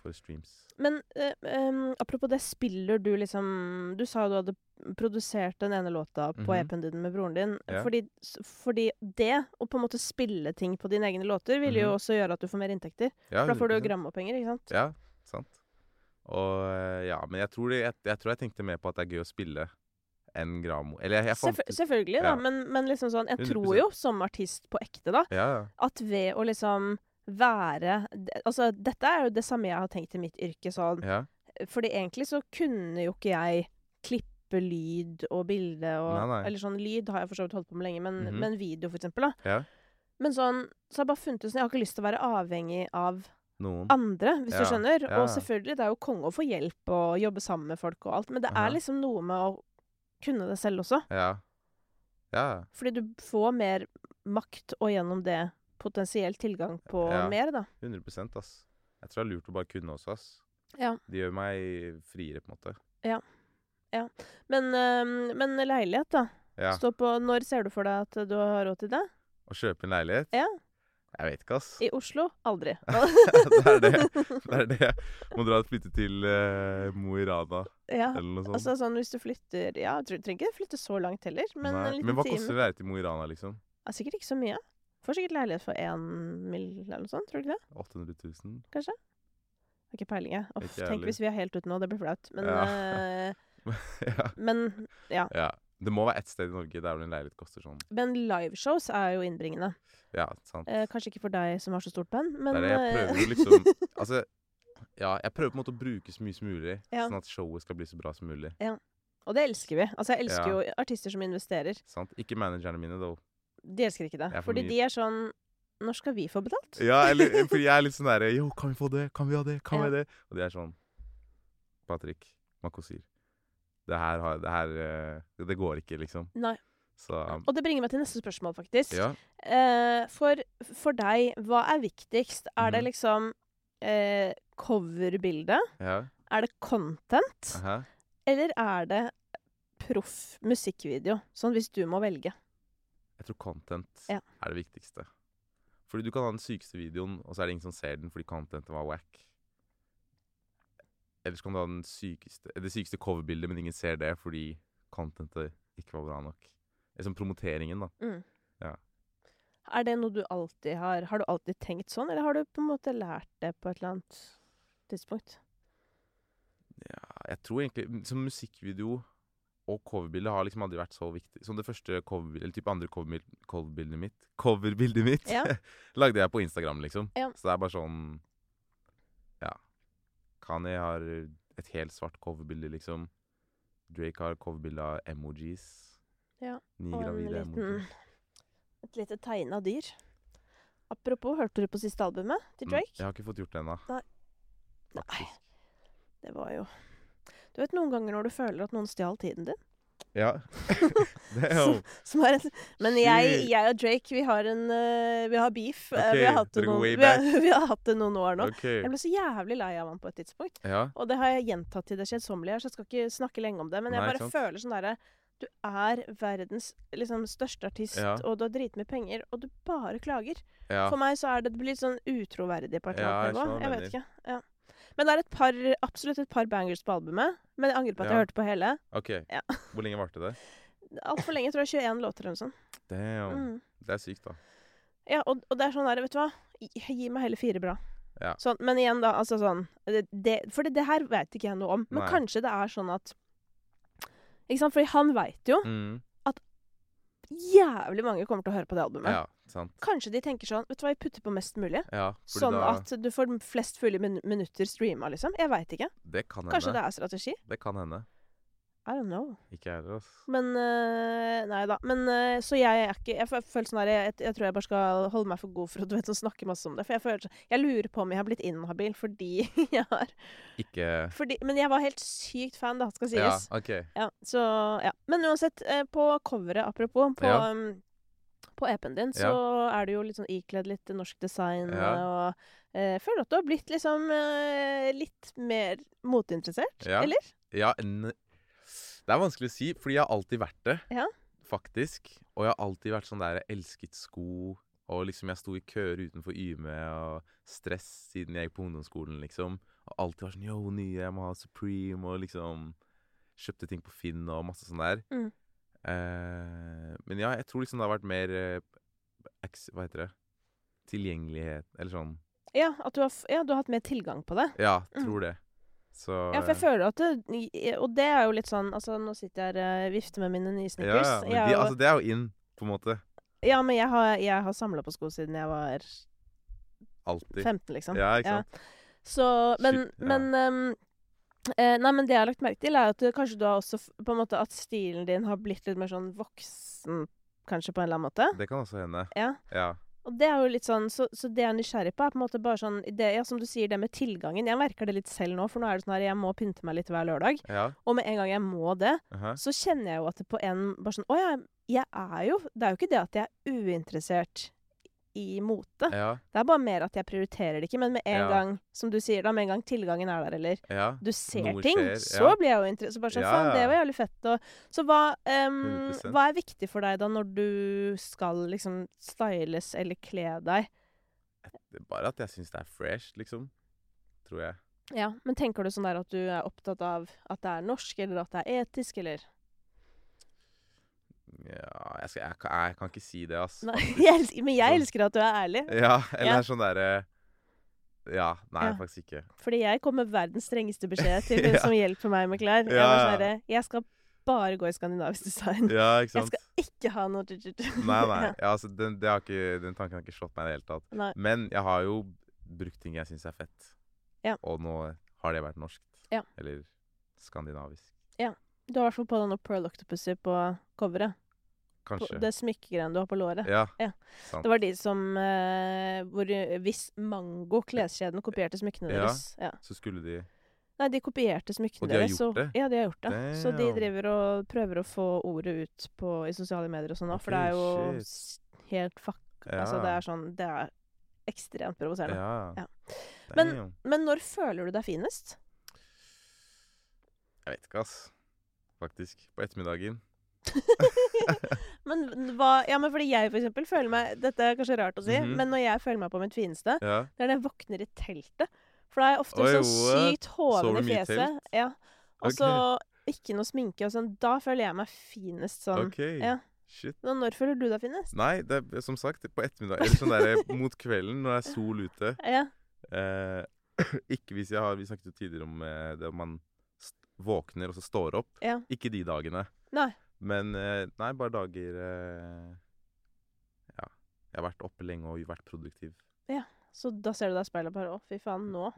for streams.
Men eh, em, apropos det, spiller du liksom Du sa jo du hadde produsert den ene låta på
Mhm.
EP-en din med broren din.
Ja.
Fordi, s- fordi det, å på en måte spille ting på dine egne låter, vil jo
Mhm.
også gjøre at du får mer inntekter.
Ja,
For da får du jo
100%.
grammopenger, ikke sant?
Ja, sant. Og eh, ja, men jeg tror, det, jeg, jeg tror jeg tenkte mer på at det er gøy å spille enn Gramo. Eller jeg, jeg fant
Selvfø- selvfølgelig, da.
Ja.
Men, men liksom sånn Jeg tror
100%.
jo, som artist på ekte, da,
Ja, ja.
at ved å liksom være d- Altså, dette er jo det samme jeg har tenkt i mitt yrke sånn
ja.
Fordi egentlig så kunne jo ikke jeg klippe lyd og bilde og
Nei, nei.
Eller sånn lyd har jeg for så vidt holdt på med lenge, men,
Mhm.
men video, for eksempel, da.
Ja.
Men sånn Så har jeg bare funnet ut sånn Jeg har ikke lyst til å være avhengig av
Noen.
andre, hvis
Ja,
du skjønner.
ja.
Og selvfølgelig, det er jo konge å få hjelp og jobbe sammen med folk og alt, men det
Aha.
er liksom noe med å kunne det selv også.
Ja. Ja.
Fordi du får mer makt, og gjennom det potensielt tilgang på
Ja.
mer, da.
100 ass. Jeg tror det er lurt å bare kunne også, ass.
Ja.
Det gjør meg friere, på en måte.
Men, øhm, men leilighet, da.
Ja.
Stå på Når ser du for deg at du har råd til det?
Å kjøpe en leilighet?
Ja.
Jeg vet ikke, ass.
I Oslo? Aldri.
det er det. Det er det. Må dra og flytte til eh, Mo i Rana
ja.
eller noe sånt.
Altså sånn hvis du flytter Ja, du trenger ikke flytte så langt heller, men en
Nei.
liten
men hva
time
koster leilighet i Mo i Rana, liksom?
Ja, Sikkert ikke så mye. Får sikkert leilighet for én mill. eller noe sånt, tror du ikke det?
800 000?
Har ikke peiling, jeg. Uff,
Ikke jeg
tenk hvis vi er helt ute nå, det blir flaut. Men,
Ja.
eh,
ja.
men,
ja. Det må være ett sted i Norge der hvor en leilighet koster sånn.
men liveshows er jo innbringende.
Ja, sant.
Eh, kanskje ikke for deg som har så stort band, men
det er det. Jeg
eh,
prøver jo liksom Altså, ja, jeg prøver på en måte å bruke så mye som mulig,
Ja.
sånn at showet skal bli så bra som mulig.
Og det elsker vi. Altså, jeg elsker
Ja.
jo artister som investerer.
Sant? Ikke managerne mine, though.
De elsker ikke det.
Det er for
fordi
mye.
de er sånn Når skal vi få betalt?
Ja, eller fordi jeg er litt sånn derre Yo, kan vi få det? Kan vi ha det? Kan
Ja.
vi ha det? Og de er sånn Patrick Makosir. Det her har Det her eh, Det går ikke, liksom.
Nei.
Så um,
Og det bringer meg til neste spørsmål, faktisk.
ja.
Eh, for, for deg, hva er viktigst? Er det
Mhm.
liksom eh, coverbildet?
ja.
Er det content?
Aha.
Eller er det proff musikkvideo? Sånn hvis du må velge.
Jeg tror content
Ja.
er det viktigste. Fordi du kan ha den sykeste videoen, og så er det ingen som ser den fordi contenten var whack. Eller så kan du ha den sykeste, det sykeste coverbildet, men ingen ser det fordi contentet ikke var bra nok. Eller som promoteringen, da.
Er det noe du alltid har Har du alltid tenkt sånn, eller har du på en måte lært det på et eller annet tidspunkt?
Ja, jeg tror egentlig Som musikkvideo og coverbilde har liksom aldri vært så viktig. Som det første coverbildet, eller typ andre coverbil- coverbildet mitt Coverbildet mitt
Ja.
lagde jeg på Instagram, liksom.
Ja.
Så det er bare sånn Ja. Kanye har et helt svart coverbilde, liksom. Drake har coverbilde av emojis.
Ja,
Ni
Og en
gravide
liten,
emojis. Mm.
et lite tegna dyr. Apropos, hørte du på siste albumet til
Mm,
Drake?
Jeg har ikke fått gjort det ennå.
Nei. Nei.
faktisk.
Det var jo Du vet noen ganger når du føler at noen stjal tiden din?
Ja. det er jo
Som, som er et, men jeg,
Shit.
jeg og Drake, vi har en eh, Vi har beef. Eh, vi,
Ok,
har hatt det
dere går
noen,
way
vi, har,
back.
vi har hatt det noen år nå.
OK.
Jeg ble så jævlig lei av han på et tidspunkt.
Ja.
Og det har jeg gjentatt til det kjedsommelige, her, så jeg skal ikke snakke lenge om det. Men jeg
Nei,
bare
sant.
føler sånn derre Du er verdens liksom, største artist,
Ja.
og du har dritmye penger, og du bare klager.
ja.
For meg så er det, det blir litt sånn utroverdig på et eller
Ja, jeg
annet nivå.
skjønner hva
Jeg
du
vet ikke. Ja. Men det er et par, absolutt et par bangers på albumet. Men jeg angrer på at
Ja.
jeg hørte på hele.
OK.
Ja.
Hvor lenge varte det?
Altfor lenge, tror jeg. 21 låter eller noe sånt.
Damn.
Mm.
Det er sykt, da.
Ja, og, og det er sånn der, vet du hva? Gi, gi meg heller fire bra.
Ja.
Sånn, men igjen, da, altså sånn det, det, For det, det her vet ikke jeg noe om. Men
Nei.
kanskje det er sånn at Ikke sant, fordi han veit jo
Mm.
jævlig mange kommer til å høre på det albumet.
Ja, sant.
Kanskje de tenker sånn Vet du hva, vi putter på mest mulig.
Ja, fordi
Sånn
da,
at du får flest mulig min minutter streama, liksom. Jeg veit ikke.
Det kan hende.
Kanskje det er strategi?
Det kan hende.
I don't know.
Ikke jeg heller, altså.
Men øh, Nei da. Men øh, Så jeg er ikke Jeg føl- føler sånn her jeg, jeg tror jeg bare skal holde meg for god for å du vet, sånn, snakke masse om det. For jeg føler sånn- Jeg lurer på om jeg har blitt inhabil fordi jeg har
Ikke
fordi, Men jeg var helt sykt fan, da, skal
Ja,
sies.
OK.
Ja, så ja. Men uansett, eh, på coveret, apropos, på,
Ja.
um, på EP-en din, så er du jo litt sånn ikledd litt norsk design,
Ja.
og eh, føler at du har blitt liksom eh, litt mer moteinteressert,
Ja.
eller?
Ja, en, det er vanskelig å si, fordi jeg har alltid vært det.
Ja.
Faktisk. Og jeg har alltid vært sånn der jeg elsket sko, og liksom jeg sto i køer utenfor Yme og stress siden jeg gikk på ungdomsskolen, liksom. Og alltid var sånn yo, nye, jeg må ha Supreme, og liksom kjøpte ting på Finn og masse sånn der.
Mm.
Eh, men ja, jeg tror liksom det har vært mer eh, eks- Hva heter det? Tilgjengelighet, eller sånn.
Ja, at du har, f- ja, du har hatt mer tilgang på det.
Ja,
Mm.
tror det. Så
Ja, for jeg føler at det, Og det er jo litt sånn Altså, nå sitter jeg her og vifter med mine nye
ja,
sneakers.
ja,
jeg,
men
er
de,
jo-
altså, det er jo in, på en måte.
ja, men jeg har, jeg har samla på sko siden jeg var
Alltid.
15, liksom.
Ja, ikke sant?
Så, men,
Shit, ja.
men ehm, eh, Nei, men det jeg har lagt merke til, er at du, kanskje du har også f- på en måte at stilen din har blitt litt mer sånn voksen, kanskje, på en eller annen måte.
Det kan også hende.
Ja.
Ja.
Og det er jo litt sånn, så, så det jeg er nysgjerrig på, er på en måte bare sånn det, Ja, som du sier, det med tilgangen. Jeg merker det litt selv nå, for nå er det sånn her jeg må pynte meg litt hver lørdag.
ja.
Og med en gang jeg må det,
aha.
så kjenner jeg jo at det på en bare sånn Å ja, jeg er jo Det er jo ikke det at jeg er uinteressert i mote.
ja.
Det er bare mer at jeg prioriterer det ikke. Men med en
Ja.
gang, som du sier, da med en gang tilgangen er der, eller
Ja.
du ser
Noe
ting,
skjer,
så
ja.
blir jeg jo interessert. Så bare sånn,
Ja,
faen, det
ja.
var jævlig fett. Og, så hva, ehm,
100%.
hva er viktig for deg da når du skal liksom styles eller kle deg?
Det er bare at jeg syns det er fresh, liksom. Tror jeg.
Ja, Men tenker du sånn der at du er opptatt av at det er norsk, eller at det er etisk, eller?
Ja, jeg, skal, jeg, kan- jeg kan ikke si det, ass.
Nei,
faktisk.
jeg elsker, men jeg
Sånn.
elsker at du er ærlig.
Ja, eller
Ja.
sånn derre Ja. Nei,
Ja.
faktisk ikke.
Fordi jeg kom med verdens strengeste beskjed til hun
Ja.
som hjelper meg med klær. Jeg,
Ja,
var
ja.
sånn derre, jeg skal bare gå i skandinavisk design.
Ja, ikke
Jeg
sant?
skal ikke ha noe
Nei, nei.
Ja.
Ja, altså, den, det har ikke, den tanken har ikke slått meg i det hele tatt.
Nei.
Men jeg har jo brukt ting jeg syns er fett.
Ja.
Og nå har det vært norskt.
Ja.
Eller skandinavisk.
Du har i hvert fall på deg noe Pearl Octopussy på coveret. På
Kanskje.
det smykkegreiene du har på låret.
Ja.
Ja.
Sant.
Det var de som eh, hvor, Hvis Mango, kleskjeden, kopierte smykkene
Ja.
deres. Ja.
Så skulle de
Nei, de kopierte
Og
smykkene
de har
deres.
gjort
så-
det?
Ja, de har gjort det. Så de
Damn.
driver og prøver å få ordet ut på, i sosiale medier og sånn nå, for det
Ok,
er jo
shit.
s- helt fuck
Ja.
Altså, det er sånn Det er ekstremt provoserende.
Ja.
Ja. Men-
Damn.
Men når føler du deg finest?
Jeg vet ikke, ass. Faktisk. På ettermiddagen.
Men hva Ja, men fordi jeg for eksempel føler meg Dette er kanskje rart å si,
Mhm.
men når jeg føler meg på mitt fineste,
Ja.
Det er når jeg våkner i teltet. For da er jeg ofte
Oi,
sånn sykt
Sover
hoven
du
i
mye i
fjeset.
telt?
Ja. Og
Ok.
så ikke noe sminke og sånn. Da føler jeg meg finest sånn.
OK.
Ja.
Shit.
Nå, når føler du deg finest?
Nei, det er som sagt på ettermiddag Eller sånn der mot kvelden når det er sol ute.
Ja.
Eh, ikke hvis jeg har Vi snakket jo tidligere om eh, det om man st våkner og så står opp.
Ja.
Ikke de dagene.
Nei.
Men eh, nei, bare dager eh, Ja. Jeg har vært oppe lenge og vært produktiv.
Så da ser du deg i speilet og bare å, fy faen, nå.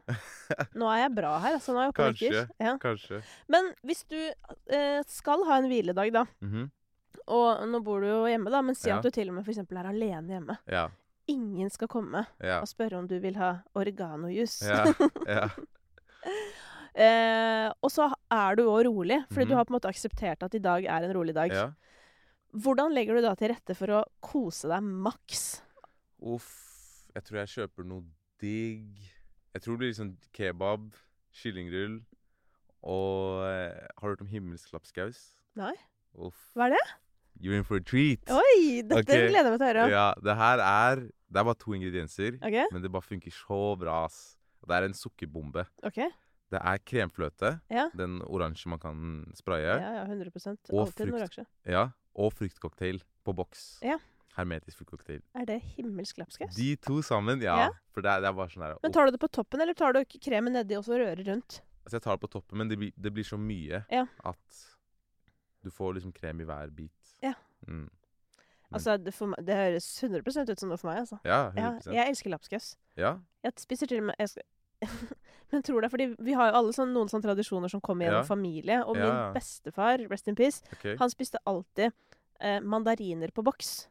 Nå er jeg bra her, altså. Nå er jeg oppe og nikker.
Kanskje.
Ja.
Kanskje.
Men hvis du eh, skal ha en hviledag, da,
Mhm.
og nå bor du jo hjemme, da, men si
Ja.
at du til og med for eksempel er alene hjemme.
Ja.
Ingen skal komme
Ja.
og spørre om du vil ha oreganojuice.
Ja. ja.
Eh, og så er du òg rolig, fordi du
Mhm.
har på en måte akseptert at i dag er en rolig dag.
ja.
Hvordan legger du da til rette for å kose deg maks?
Uff, jeg tror jeg kjøper noe digg. Jeg tror det blir liksom kebab, kyllingrull og eh, Har du hørt om himmelsk lapskaus?
Nei.
Uff.
Hva er det?
You're in for a treat.
Oi, dette
Ok.
gleder jeg meg til å høre om.
Ja, det her er Det er bare to ingredienser,
Ok.
men det bare funker så bra, ass. Det er en sukkerbombe.
OK.
Det er kremfløte,
Ja.
den oransje man kan spraye,
Ja, ja, 100
Og
Alltid en
frukt.
oransje.
ja, og fruktcocktail på boks.
Ja.
Hermetisk fullkokt
Er det himmelsk lapskaus?
De to sammen, ja.
Ja.
For det er, det er bare sånn her
Men
åh.
tar du det på toppen, eller tar du k- kremen nedi og så rører rundt?
Altså, jeg tar det på toppen, men det, blir- det blir så mye
Ja.
at du får liksom krem i hver bit.
Ja.
Mm.
Altså, det, for meg, det høres 100 ut som noe for meg, altså.
Ja,
Ja,
100 Ja.
jeg elsker lapskaus. Jeg spiser til og med jeg skal, Men jeg tror det er fordi vi har jo alle sånn, noen sånne tradisjoner som kommer gjennom
Ja.
familie. Og
Ja,
min
ja.
bestefar, rest in peace,
OK.
han spiste alltid eh, mandariner på boks.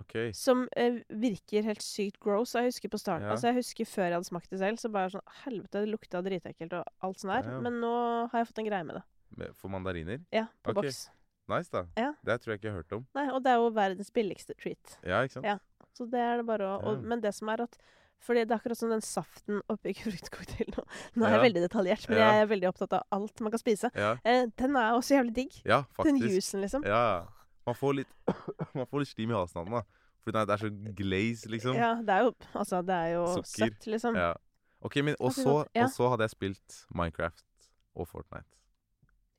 ok.
Som eh, virker helt sykt gross. og Jeg husker på starten,
Ja.
altså jeg husker før jeg hadde smakt det selv, så bare sånn Helvete, det lukta dritekkelt og alt sånn der.
Ja, ja.
Men nå har jeg fått en greie med det.
Med- For mandariner?
Ja, på
Ok.
boks.
Nice, da.
Ja.
Det tror jeg ikke jeg har hørt om.
Nei, og det er jo verdens billigste treat.
Ja, ikke sant?
Ja. Så det er det bare å og,
Ja.
Men det som er at fordi det er akkurat som den saften oppi fruktcocktailen. nå- Nå er jeg
Ja.
veldig detaljert, men
Ja.
jeg er veldig opptatt av alt man kan spise.
Ja,
Eh, den er også jævlig digg.
ja
Den
faktisk.
juicen, liksom.
Ja, ja. Man får litt, man får litt slim i halsen av den, da. Fordi den er- det er så glaze, liksom.
Ja, det er jo Altså, det er jo
Sukker.
søtt, liksom.
Ja. Ok, men
Og
og
så
så,
godt, ja.
og så hadde jeg spilt Minecraft og Fortnite.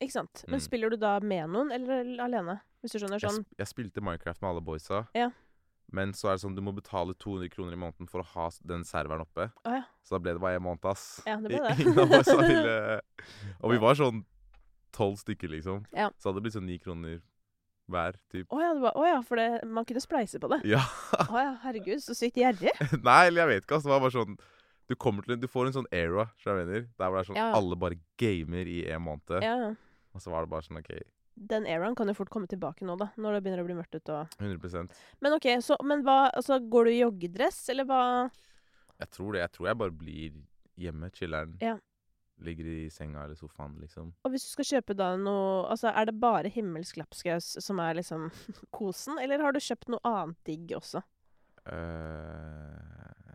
Ikke sant? Men
Mm.
spiller du da med noen, eller alene? Hvis du skjønner
Jeg,
sånn
sp jeg spilte Minecraft med alle boysa.
Ja.
Men så er det sånn, du må betale 200 kroner i måneden for å ha s- den serveren oppe.
Å ja.
Så da ble det bare en måned, ass.
Ja, det ble
I-
det.
Ingen av boysa ville Og vi var sånn tolv stykker, liksom.
Ja.
Så hadde det blitt sånn ni kroner hver, typ.
Å ja, det var, å ja, for det, man kunne spleise på det.
Ja.
Å ja, herregud, så sykt gjerrig.
Nei, eller jeg vet ikke, ass. Det var bare sånn Du kommer til en- Du får en sånn era, skjønner du hva jeg mener. Der hvor det er sånn
Ja.
alle bare gamer i en måned.
Ja.
Og så var det bare sånn OK,
Den eraen kan jo fort komme tilbake nå, da. Når det begynner å bli mørkt ute og
100
Men OK, så men hva, altså, går du i joggedress, eller hva
Jeg tror det. Jeg tror jeg bare blir hjemme, chiller'n.
Ja.
Ligger i senga eller sofaen, liksom.
Og hvis du skal kjøpe da noe Altså, er det bare himmelsk lapskaus som er liksom kosen, eller har du kjøpt noe annet digg også?
Eh,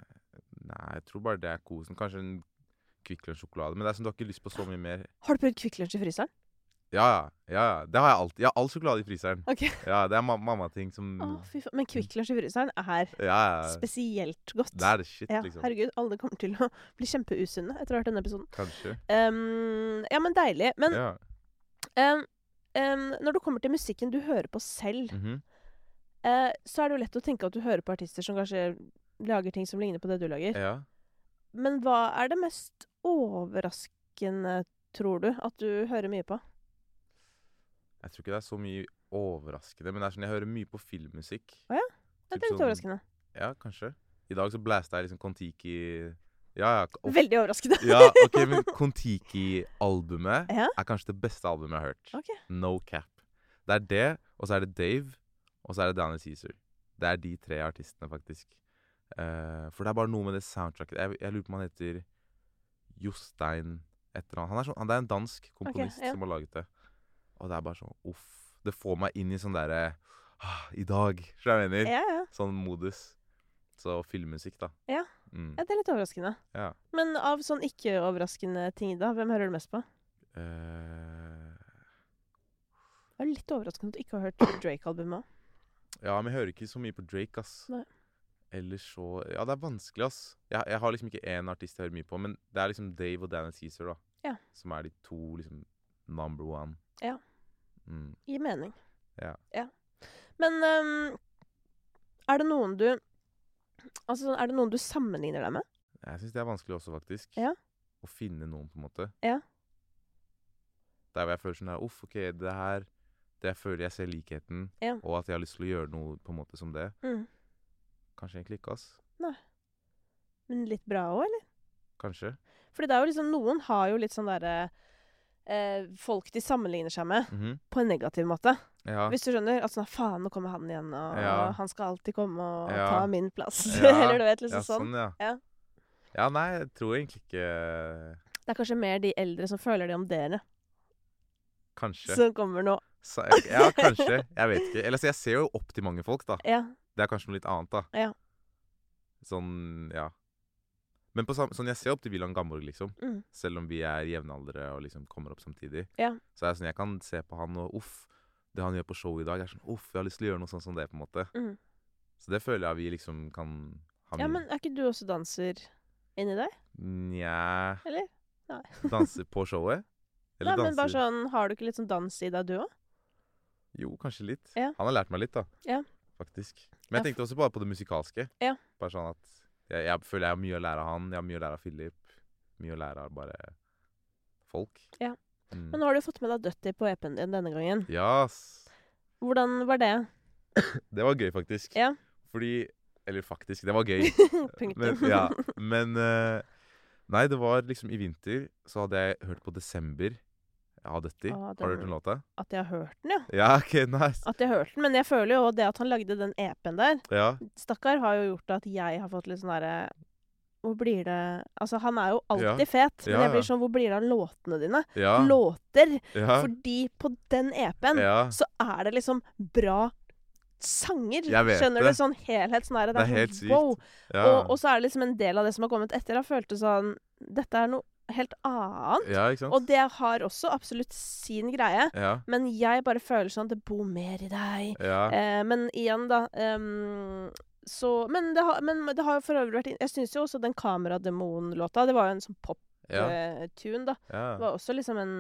nei, jeg tror bare det er kosen. Kanskje en Kvikk Lunsj-sjokolade. Men det er som du har ikke lyst på så mye mer.
Har du prøvd Kvikk Lunsj i fryseren?
Ja, ja. ja, ja. Det har jeg alltid. Jeg har all sjokolade i fryseren.
Ok.
Ja, Det er ma mammating som
Å, fy faen. Men Kvikk Lunsj i fryseren er
Ja, ja.
spesielt godt.
Det er det shit,
ja,
liksom.
herregud, alle kommer til å bli kjempeusunne etter å ha hørt denne episoden.
Kanskje.
Ehm, ja, men deilig. Men
Ja.
ehm, ehm, når du kommer til musikken du hører på selv,
mhm.
eh, så er det jo lett å tenke at du hører på artister som kanskje lager ting som ligner på det du lager.
ja.
Men hva er det mest overraskende, tror du, at du hører mye på?
Jeg tror ikke det er så mye overraskende, men det er sånn jeg hører mye på filmmusikk.
Å ja? Ja, Det
Typ
er litt
sånn-
overraskende.
Ja, kanskje. I dag så blæsta jeg liksom Kon-Tiki Ja, ja. k- of-
Veldig overraskende.
ja ok, men Kon-Tiki-albumet
Ja.
er kanskje det beste albumet jeg har hørt.
Ok.
No cap. Det er det, og så er det Dave, og så er det Daniel Cæsar. Det er de tre artistene, faktisk. Eh, for det er bare noe med det soundtracket Jeg, jeg lurer på om han heter Jostein et eller annet. Han er, sånn, han det er en dansk komponist
ja.
som har laget det. Og det er bare sånn uff. Det får meg inn i sånn derre ah, I dag, skjønner du hva jeg mener?
Ja, ja.
Sånn modus. Så filmmusikk, da.
Ja.
Mm.
ja, det er litt overraskende.
Ja.
Men av sånn ikke-overraskende ting, da, hvem hører du mest på?
Eh,
Det er litt overraskende at du ikke har hørt Drake-albumet òg.
ja, men jeg hører ikke så mye på Drake, ass.
Nei.
Ellers så Ja, det er vanskelig, ass. Jeg, jeg har liksom ikke én artist jeg hører mye på, men det er liksom Dave og Daniel Cæsar, da.
Ja.
Som er de to liksom number one.
Ja.
Mm.
Gir mening.
Ja.
Men øhm, er det noen du Altså, sånn, er det noen du sammenligner deg med?
Jeg syns det er vanskelig også, faktisk.
Ja.
Å finne noen, på en måte.
Ja.
Der hvor jeg føler sånn her Uff, OK, det her Det jeg føler jeg ser likheten,
Ja.
og at jeg har lyst til å gjøre noe på en måte som det.
Mm.
Kanskje egentlig ikke, ass.
Men litt bra òg, eller?
Kanskje.
Fordi det er jo liksom Noen har jo litt sånn derre eh, Folk de sammenligner seg med,
Mhm.
på en negativ måte.
Ja.
Hvis du skjønner? At sånn Faen, nå kommer han igjen, og
Ja.
han skal alltid komme og
Ja.
ta min plass.
Ja,
eller du vet, liksom
ja,
sånn.
sånn. Ja.
Ja.
Ja, nei, jeg tror egentlig ikke eh,
Det er kanskje mer de eldre som føler det om dere,
Kanskje.
som kommer nå.
Sa- Ja, kanskje. Jeg vet ikke. Eller altså, jeg ser jo opp til mange folk, da.
Ja.
Det er kanskje noe litt annet, da.
Ja.
Sånn, ja. Men på sam sånn, jeg ser opp til Wilhelm Gamborg, liksom.
Mm.
Selv om vi er jevnaldrende og liksom kommer opp samtidig.
Ja.
Så er det sånn, jeg kan se på han og uff, det han gjør på showet i dag, jeg er sånn uff, jeg har lyst til å gjøre noe sånn som det, på en måte.
Mm.
Så det føler jeg vi liksom kan ha
ja,
mye-
men er ikke du også danser inni deg?
Nja
Eller? Nei.
Danse på showet? Eller
Nei, men bare
danser Mm.
sånn, Har du ikke litt sånn dans i deg, du òg?
Jo, kanskje litt.
Ja.
Han har lært meg litt, da.
Ja.
faktisk. Men jeg
Ja,
tenkte også bare på det musikalske.
Ja.
Bare sånn at jeg, jeg føler jeg har mye å lære av han, jeg har mye å lære av Philip. Mye å lære av bare folk.
Ja.
Mm.
Men nå har du fått med deg Dutty på EP-en din denne gangen.
Yes.
Hvordan var det?
Det var gøy, faktisk.
Ja.
Fordi Eller faktisk, det var gøy. Men,
Punktum.
ja, men eh, Nei, det var liksom i vinter så hadde jeg hørt på Desember av Døtti.
Ah,
Har du hørt
den-
den låta?
At jeg har hørt den, ja.
Ja, ok, nice.
At jeg har hørt den, Men jeg føler jo det at han lagde den EP-en der
Ja,
Stakkar har jo gjort at jeg har fått litt sånn derre Hvor blir det Altså, han er jo
Ja.
alltid fet, men
Ja,
jeg
ja.
blir sånn Hvor blir det av låtene dine?
ja,
Låter!
ja,
Fordi på den EP-en
ja.
så er det liksom bra sanger.
Jeg vet
Skjønner
det.
du? Sånn helhet. Sånn er det.
Det er
sånn,
helt sykt.
Wow.
ja.
Og, og så er det liksom en del av det som har kommet etter, har følt det sånn Dette er noe helt annet.
ja, ikke sant?
Og det har også absolutt sin greie,
ja,
men jeg bare føler sånn at det bor mer i deg.
ja,
Eh, men igjen, da ehm, så, men, det har, men det har jo for øvrig vært Jeg syns jo også den Kamerademon-låta Det var jo en sånn
ja,
pop-tune, da. Det
ja.
var også liksom en,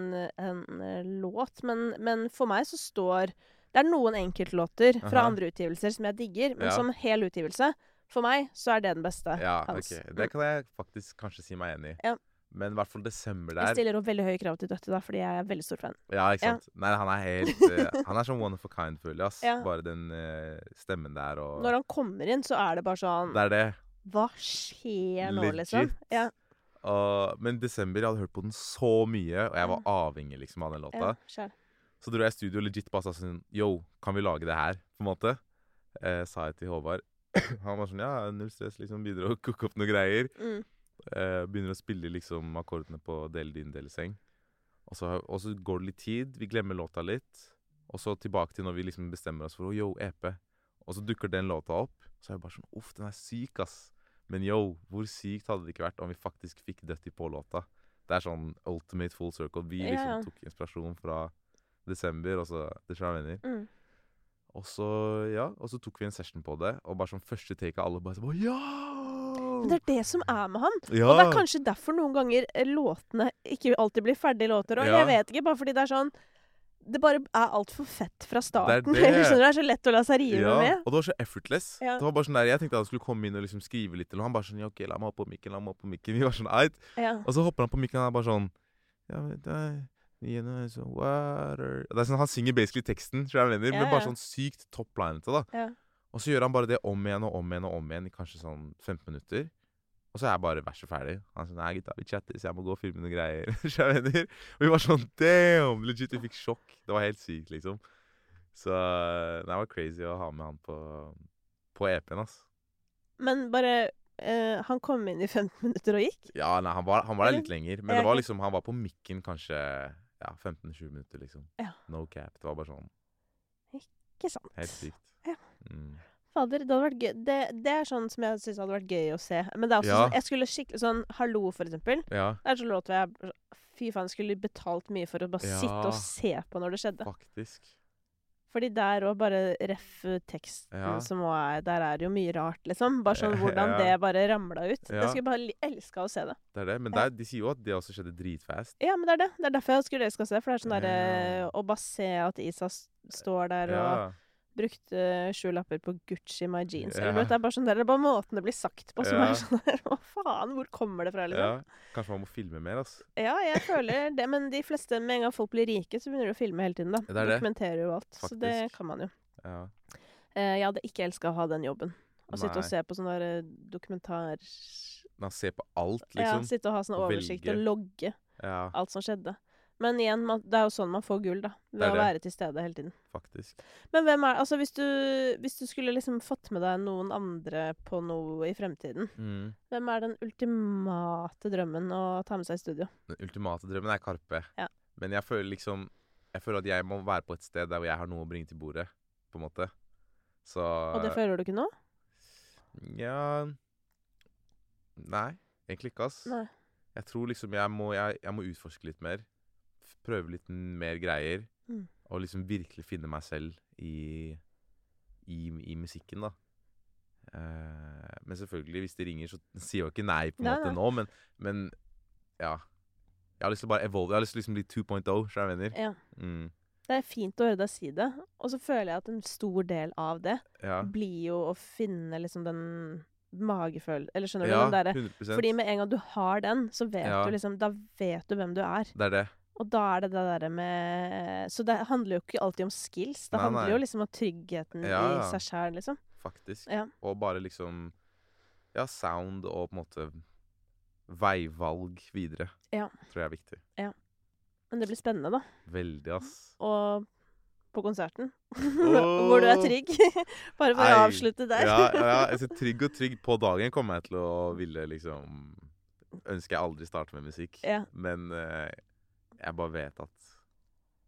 en eh, låt. Men, men for meg så står Det er noen enkeltlåter fra
Aha.
andre utgivelser som jeg digger, men
Ja.
som hel utgivelse, for meg, så er det den beste.
ja
hans.
ok. Det kan jeg faktisk kanskje si meg enig i.
altså, mm. Ja.
Men i hvert fall Desember
Jeg
der
stiller jo veldig høye krav til Døtte, da, fordi jeg er veldig stor fan.
Ja, ikke
Ja.
sant? Nei, han er helt eh, Han er sånn one of a kind, føler jeg. ass.
Ja.
Bare den eh, stemmen der og
Når han kommer inn, så er det bare sånn
Det er det.
Hva skjer nå, liksom?
Legit.
Ja,
Og- men Desember, jeg hadde hørt på den så mye, og jeg var avhengig liksom av den låta.
Mm. ja, skjær.
Så dro jeg i studio og legit bare sa sånn Yo, kan vi lage det her? På en måte. Eh, sa jeg til Håvard. Han var sånn Ja, null stress. Liksom begynner å koke opp noen greier.
Mm.
Eh, begynner å spille liksom akkordene på Del din, del seng. Og så, og så går det litt tid. Vi glemmer låta litt. Og så tilbake til når vi liksom bestemmer oss for å yo, EP. Og så dukker den låta opp. Så er jeg bare sånn Uff, den er syk, ass. Men yo, hvor sykt hadde det ikke vært om vi faktisk fikk Dutty på låta? Det er sånn ultimate full circle. Vi
Ja, ja.
liksom tok inspirasjon fra desember, og så det skjer venner.
Mm.
Og så, ja, og så tok vi en session på det, og bare som første take av alle bare sånn «Å,
Men det
Ja!
er det som er med han.
ja!
Og det er kanskje derfor noen ganger eh, låtene ikke alltid blir ferdige låter. Og
Ja.
jeg vet ikke, bare fordi det er sånn Det bare er altfor fett fra starten.
det.
Eller skjønner du, det er så lett å la seg rive
ja,
med.
Og det var så effortless.
Ja.
Det var bare sånn der, Jeg tenkte han skulle komme inn og liksom skrive litt, og han bare sånn ja, OK, la meg opp på mikken, la meg opp på mikken. Vi var sånn eit.
Ja.
Og så hopper han på mikken, og han er bare sånn ja, men det er- you know, it's a water. Det er sånn, Han synger basically teksten, tror jeg han mener,
Ja,
men bare
ja.
sånn sykt toplinete, da.
Ja.
Og så gjør han bare det om igjen og om igjen og om igjen i kanskje sånn 15 minutter. Og så er jeg bare verset ferdig. Han er sånn Nei, gutta, vi chattes, jeg må gå og filme noen greier. Så jeg mener. Og vi var sånn Damn! Legit, vi fikk sjokk. Det var helt sykt, liksom. Så nei, det var crazy å ha med han på, på EP-en, ass.
Men bare eh, Han kom inn i 15 minutter og gikk.
Ja, nei, han var, han var der litt lenger. Men
Ja,
det
ok.
var liksom, han var på mikken kanskje ja, 15-20 minutter, liksom.
Ja.
No cap. Det var bare sånn
Ikke sant?
helt sykt.
Ja.
Mm.
Fader, det hadde vært gøy. Det, det er sånn som jeg syns hadde vært gøy å se. Men det er også
Ja.
sånn Jeg skulle skikkelig sånn Hallo, for eksempel.
Ja,
Det er sånn låt hvor jeg Fy faen, skulle betalt mye for å bare
Ja.
sitte og se på når det skjedde.
faktisk.
Fordi der òg bare ref eh, teksten
Ja.
som også er Der er det jo mye rart, liksom. Bare sånn hvordan
Ja.
det bare ramla ut.
Ja.
Jeg skulle bare li- elska å se det.
Det er det. Men
Ja.
der, de sier jo at det også skjedde dritfast.
Ja, men det er det. Det er derfor jeg skulle elska å se det. For det er sånn derre
Ja.
Å bare se at Isa s- står der og
Ja.
brukte sju lapper på Gucci my jeans.
Ja.
Eller, noe. det er bare sånn der, det er bare måten det blir sagt på som
Ja.
er sånn der Å faen, hvor kommer det fra, liksom?
Ja, kanskje man må filme mer, ass.
Ja. jeg føler det. Men de fleste, med en gang folk blir rike, så begynner de å filme hele tiden, da.
Ja, det er det.
Dokumenterer jo alt. Så det
Faktisk.
kan man jo.
Ja.
Eh, jeg hadde ikke elska å ha den jobben. Å sitte og
Nei.
se på sånne der eh, dokumentar...
Man ser på alt,
Ja,
liksom.
sitte og ha sånn
og
oversikt
velge.
og logge
Ja,
alt som skjedde. Men igjen, man, det er jo sånn man får gull, da. Ved
Det er
å være
det.
til stede hele tiden.
faktisk.
Men hvem er Altså, hvis du, hvis du skulle liksom fått med deg noen andre på noe i fremtiden,
Mm.
hvem er den ultimate drømmen å ta med seg i studio?
Den ultimate drømmen er Karpe.
Ja.
Men jeg føler liksom Jeg føler at jeg må være på et sted der hvor jeg har noe å bringe til bordet, på en måte. Så
Og det føler du ikke nå?
Ja Nei, egentlig ikke, ass.
Nei.
Jeg tror liksom jeg må, jeg, jeg må utforske litt mer. f- Prøve litt n- mer greier.
Mm.
Og liksom virkelig finne meg selv i, i, i musikken, da. Eh, men selvfølgelig, hvis det ringer, så sier jeg jo ikke nei på en
Nei,
måte
nei.
nå, men, men ja. Jeg har lyst til å bare evolve. Jeg har lyst til liksom bli 2.0, oh, skjønner du hva jeg mener?
Ja.
Mm.
Det Det er fint å høre deg si det. Og så føler jeg at en stor del av det
Ja,
blir jo å finne liksom den magefølelsen Eller skjønner du?
ja
den derre
100
eh, Fordi med en gang du har den, så vet
Ja.
du liksom Da vet du hvem du er.
Det er det.
Og da er det det derre med Så det handler jo ikke alltid om skills. Det
Nei,
handler
nei.
jo liksom om tryggheten
Ja,
i
ja.
seg sjæl, liksom.
faktisk.
Ja.
Og bare liksom Ja, sound og på en måte veivalg videre
Ja.
tror jeg er viktig.
Men det blir spennende, da.
Veldig, ass.
Og på konserten. Hvor du er trygg. Bare for å
Nei.
avslutte der.
Ja, ja, ja. Altså, trygg og trygg på dagen kommer jeg til å ville liksom Ønsker jeg aldri starte med musikk,
Ja.
men eh, jeg bare vet at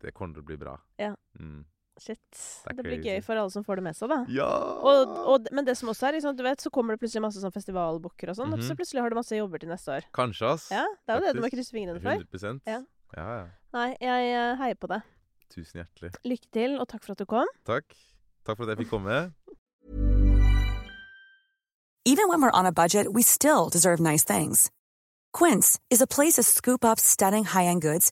det kommer til å bli bra.
Ja.
Mm.
Shit.
Det er
Det blir
crazy.
gøy for alle som får det med seg, da.
ja!
Og, og, men det som også er, liksom, du vet, så kommer det plutselig masse sånn festivalbooker og sånn, og så
Mhm.
plutselig har du masse jobber til neste år.
Kanskje, ass.
Ja, Det er jo det du må
Faktisk.
krysse fingrene for.
100
Ja.
ja, ja.
Nei, jeg eh, heier på deg.
Tusen hjertelig.
Lykke til, og takk for at du kom.
Takk. Takk for at jeg fikk komme.
Even when we're on a budget, we still deserve nice things. Quince is a place to scoop up stunning high-end goods